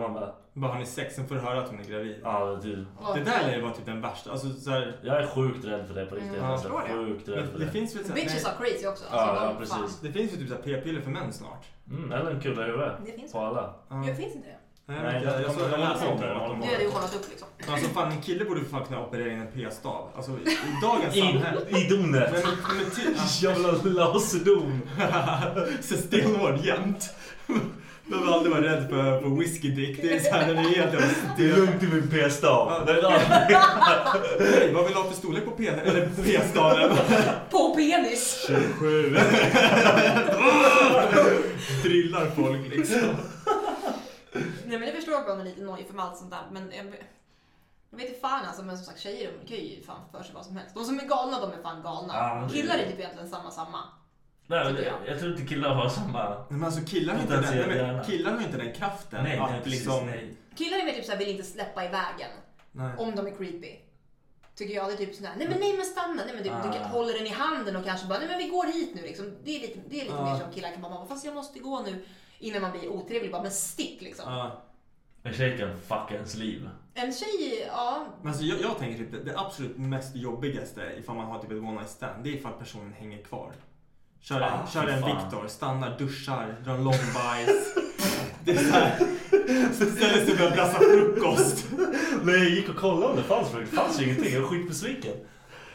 Man bara, Bara har ni sex, sen får du höra att hon är gravid. ja du. Det där lär ju vara typ den värsta, alltså så här, Jag är sjukt rädd för det på riktigt. Mm, jag alltså, förstår det. sjukt rädd för det, det det. finns väl så här, Bitches are crazy också. Ja, de- ja, precis. fan. det finns ju typ så här p-piller för män snart. Mm, eller en kula i huvudet. Det finns På alla. Ja. Ja, finns inte det? Nej, jag, jag, jag, kommer såg- jag inte läste ihåg om det. det. att de Du har- hade ju kollat upp liksom. Alltså fan en kille borde fan kunna operera in en p-stav. Alltså i i dagens samhälle. I, I donet. Men, men, men ty, <laughs> Jag vill ha laserdon. <laughs> så stenhård jämt. Behöver aldrig vara rädd för, för whiskydick. Det är såhär den är helt jävla Det är stel. lugnt i min p-stav. Den är- Hej, vad vill du ha för storlek på p- eller <laughs> p-staven? På penis! 27. Drillar folk liksom. Nej men det förstår jag att man är lite nojig för med allt sånt där. Men jag, jag vet inte fan alltså. Men som sagt tjejer de kan ju fan för sig vad som helst. De som är galna de är fan galna. Ja, men Ah, det- Killar är typ egentligen samma samma. Nej, men det- Jag tror inte killar har samma... Men alltså killar har inte, Inte ens den, nej, men, gärna. killar har inte den kraften Nej, att nej, precis, liksom... nej. Killar är mer typ såhär vill inte släppa i vägen. Nej. Om de är creepy. Tycker jag. Det är typ sådär, nej men nej men stanna. Nej men typ, du Ah. kan- håller den i handen och kanske bara, nej men vi går hit nu liksom. Det är lite, det är lite Ah. mer som killar kan bara, fast jag måste gå nu. Innan man blir otrevlig bara, men stick liksom. Ja. En tjej kan fucka ens liv. En tjej, ja. Men alltså, jag, jag tänker typ det, det absolut mest jobbigaste ifall man har typ ett one night stand, det är ifall personen hänger kvar. Kör en, Ah, kör fy en fan. Viktor, stannar, duschar, drar en lång bajs. det är <laughs> såhär. Ställer sig upp och brassar frukost. Nej, jag gick och kollade om det fanns för det fanns ju ingenting. Jag var skitbesviken.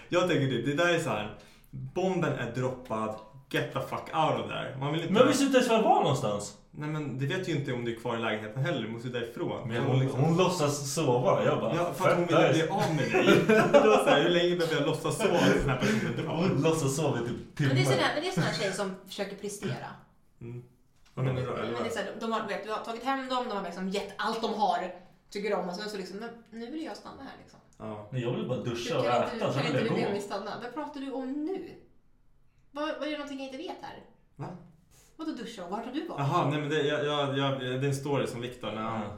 Jag tänker typ, det där är så här. bomben är droppad, get the fuck out of there. Man vill inte... Men jag visste inte ens var jag var någonstans. Nej men det vet ju inte om du är kvar i lägenheten heller, du måste ju därifrån. Men hon, hon låtsas sova. Jag bara... Ja, för att hon "Fett ville nice." bli av med dig. <laughs> Det var så här, hur länge behöver jag låtsas sova tills den här personen drar? Hon låtsas sova i typ Men det är timmar. sådana, men det är såna här tjejer som försöker prestera. Vad menar du då? Men Eller det vad? är så här, de- de har, vet, du har tagit hem dem, de har liksom gett allt de har, tycker om och sen så liksom, men nu vill jag stanna här liksom. Ja. Nej, jag vill bara Du, duscha och kan inte, äta. du, Sen kan inte vill du be jag mig gå. stanna? Vad pratar du om nu? Vad, vad är det någonting jag inte vet här? Va? Vadå duscha och vart har du varit? Jaha, nej men det, jag, jag, jag, det är en story som Viktor när han... Mm.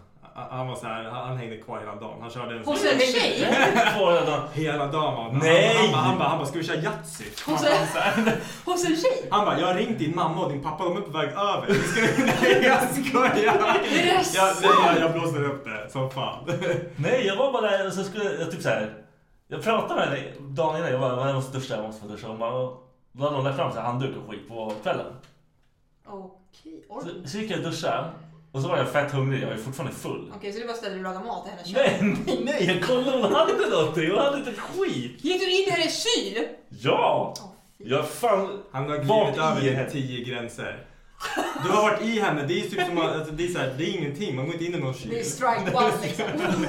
han var så här, han, han hängde kvar hela dagen. Han körde en... Hos en tjej? Kvar hela dagen. Hela dagen var han. Nej! Han, han, han, han, bara- han bara, ska vi köra Yatzy? Han, Hos han, så här- Hos en tjej? han bara, jag har ringt din mamma och din pappa, de är på väg över. Vi Ska, <laughs> nej, jag skojar! Är det jag, sant? nej, jag, jag blåser upp det som fan. Nej, jag var bara där och så skulle jag typ så här. Jag pratade med henne dagen innan. Jag bara, jag måste duscha, jag måste få duscha. Hon bara, "Åh." då hade hon lagt fram så här handduk och skit på kvällen. Okej, Så, oj. så gick jag och duschade. Och så var jag fett hungrig. Jag är fortfarande full. Okej, så du bara ställde dig och lagade mat i hennes Nej, kök? nej, nej. Jag kollade om hon hade någonting. Hon hade inte ett skit. Gick du in i hennes kyl? Ja! Jag fan... Han har Vart glidit i över henne? till tio gränser. Du har varit i henne, det är typ som att- alltså, det är, så här, det är ingenting, man går inte in i någon kyl. Det är strike <laughs> one liksom.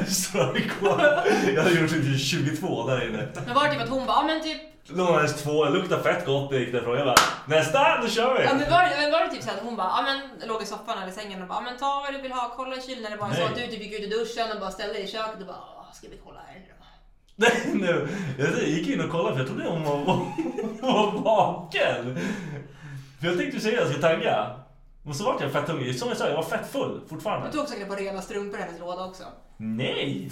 Strike-one. Jag hade gjort typ 22 där inne. Men var det typ att hon bara, ja men typ, Lånades två, luktar fett gott. Det gick därifrån. Jag bara, nästa! Nu kör vi! ja, men var, men var det typ så att hon bara, ja men låg i soffan eller sängen och bara, ja men ta vad du vill ha, kolla i kylen eller bara så Nej. att du typ gick ut i duschen och bara ställde dig i köket och bara, "Åh, ska vi kolla här nu då? Nej, nu. Jag gick in och kollade för jag trodde hon var, var vaken. För jag tänkte säga att jag ska tagga. Men så vart jag fett hungrig. Som jag sa, jag var fett full fortfarande. Du tog säkert på rena strumpor i hennes låda också. Nej!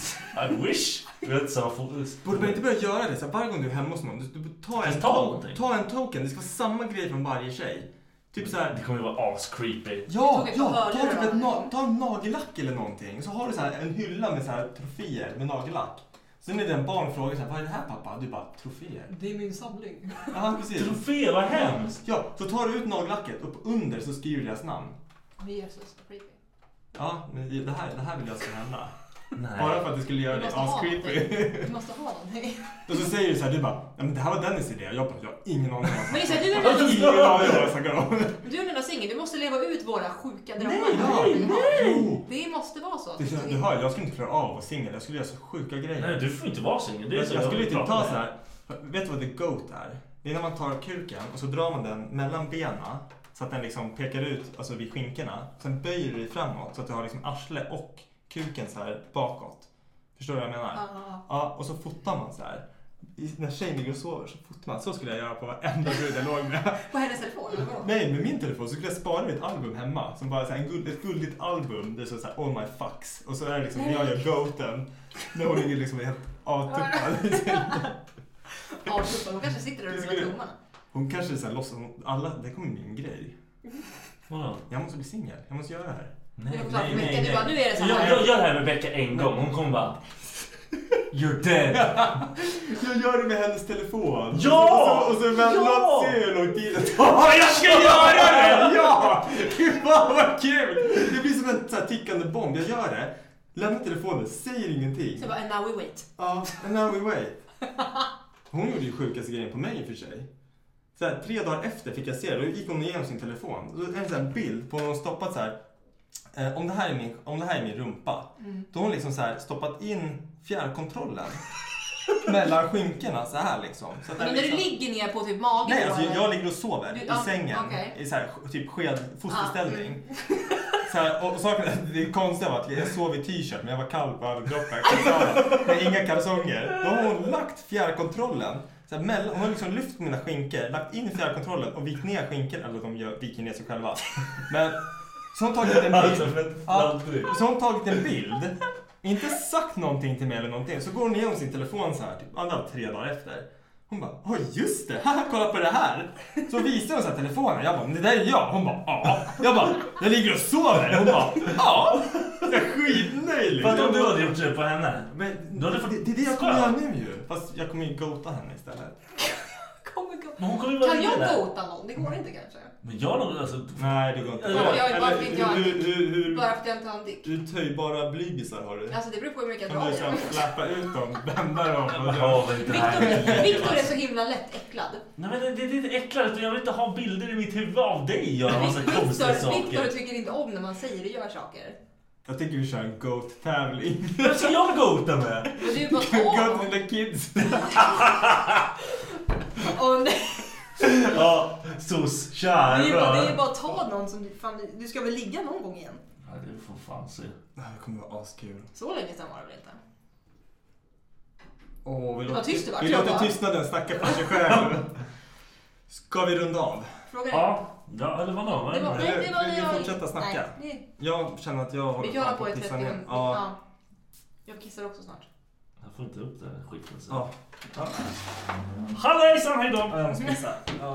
I wish! Vi har inte samma fokus. Borde man inte börja göra det? Så här, varje gång du är hemma hos någon, du, du ta, en Alltså, Ta ta, någonting. ta en token. Det ska vara samma grej från varje tjej. Typ så här, Det kommer ju vara as-creepy. Ja, tog ett par ja ta, hörlurar typ av ett na- det. ta en nagellack eller någonting. Så har du så här en hylla med så här troféer med nagellack. Sen är det en barn frågar så här, vad är det här pappa? Du bara, troféer. Det är min samling. Ja, precis. Trofé, vad hemskt! Ja, så tar du ut nagellacket och under så skriver du deras namn. Jesus, vad creepy. Ja, men det här, det här vill jag ska hända. Bara Nej. för att du skulle göra Du det måste ha ascreepy. någonting. Du måste ha någonting. Och så säger du så här, du bara, ja men det här var Dennis idé. Jag bara, jag har ingen aning om vad Men jag just snackar det, du är om." den Ingen aning om vad jag snackar om. Du är den enda singeln, du måste leva ut våra sjuka drömmar. Ja, jo. Det måste vara så. att Det, vi känns- tog du in- hör, jag skulle inte klara av att vara singel. Jag skulle göra så sjuka grejer. Nej, du får inte vara singel. Det är Jag, så jag skulle inte pratar ta med så dig. här. Vet du vad the goat är? Det är när man tar kuken och så drar man den mellan benen så att den liksom pekar ut alltså vid skinkorna. Sen böjer du dig framåt så att du har liksom arsle och kuken så här bakåt. Förstår du vad jag menar? Ja, ja, ja. Ja, och så fotar man så här. I, när tjejen ligger och sover så fotar man. Så skulle jag göra på varenda brud jag låg med. På hennes telefon? eller vadå? Nej, med min telefon så skulle jag spara mitt album hemma. Som bara så här, en guld, ett guldigt album. Det är så här all my fucks. Och så är det liksom jag gör goaten. När hon ligger liksom helt <laughs> avtuppad. Ja, tuffar. Hon kanske sitter där och Det rullar skulle- tummarna. Hon kanske så här låtsas hon, alla, det kommer bli min <laughs> grej. Vadå? Jag måste bli singel, jag måste göra det här. Nej, Jag får ta nej, Rebecca, nej, du bara, nej. nu är det så Jag, här. jag gör det här med Becka en gång. Hon kommer bara... You're dead! <laughs> Jag gör det med hennes telefon! Ja! Och så, och så men, Ja! låt se hur lång tid det tar! Ja, jag ska göra <laughs> det! Ja! Fy fan vad kul! Det blir som en så här, tickande bomb. Jag gör det, lämnar telefonen, säger ingenting. Så bara, and now we wait. Ja, and now we wait. Hon gjorde ju sjukaste grejen på mig i och för sig. Så här, tre dagar efter fick jag se det, då gick hon igenom sin telefon. Då är det en sån här bild på när hon stoppat så här. Eh, om, det här är min, om det här är min rumpa. Mm. Då har hon liksom så här stoppat in fjärrkontrollen. <laughs> mellan skinkorna så här liksom. Så att den Men när du liksom- ligger ner på typ magen Nej, då, alltså jag, eller? jag ligger och sover Du- i ja, sängen. okej. Ah, mm. I så här, typ sked, <laughs> fosterställning. Så här, och, och saken, det konstiga var att jag sov i t-shirt men jag var kall på överkroppen. kalsonger, Med inga kalsonger. Då har hon lagt fjärrkontrollen. Så här, mellan, hon har liksom lyft mina skinkor, lagt in fjärrkontrollen och vikt ner skinkorna. Eller de gör, viker ner sig själva. Men så har hon tagit en Alltså, bild. men Ja, aldrig. så har hon tagit en bild. Inte sagt någonting till mig eller någonting. Så går hon igenom sin telefon så här, typ, ja, det var tre dagar efter. Hon bara, oj just det, <laughs> haha, kolla på det här. Så visar hon så här telefonen. Jag bara, men det där är jag. Hon bara, ja. Jag bara, jag ligger och sover. Hon bara, ja. Jag är skitnöjd. liksom. Fattar om du hade gjort det på henne. Men Du hade fått det, det är det jag kommer göra skönt. nu ju. Fast jag kommer ju goata henne istället. Kommer gå- Men hon kommer ju vara Kan lite jag där. gota någon? Det går inte kanske. Men jag har nog... Alltså, Nej, det går inte. Ja, jag är bara- Eller, jag- hur, hur, hur, hur, Bara för att jag inte har en dick. hur töjbara blygdisar har du? Alltså det beror på hur mycket jag Kan drar du i dem. sen släppa ut dem, bända dem och Ja, men det här Viktor- Viktor är så himla lätt äcklad. Nej men det, det är lite äcklande för jag vill inte ha bilder i mitt huvud av dig göra <laughs> massa konstiga Viktor Viktor saker. tycker inte om när man säger och gör saker. Jag tycker vi kör en GOAT-tävling. <laughs> Vem ska jag goata med? Men du är bara Go åh. to the kids. åh, <laughs> nej. Ja, sos, Det kära är ju bara- det är ju rör. bara att ta någon som... Fan, du ska väl ligga någon gång igen? Ja, det får fan se. Det här kommer vara askul. Så länge sedan var det väl inte? Åh, vi Vad tyst det var. vi låter Klappa. <laughs> tystnaden snacka för sig själv. Ska vi runda av? Fråga dig. Ja, Ja, eller vadå? Vad är Det var- det? nej, det var- Vi vill jag- fortsätta snacka. nej, Jag känner att jag Vi håller kan hålla på på i att 30 pissa ner. minuter. Ja. Ja. Jag kissar också snart. Jag får inte upp den här skiten. Så. Ja. ja. Hallejsan, hejdå! Ja, jag måste pissa. Ja.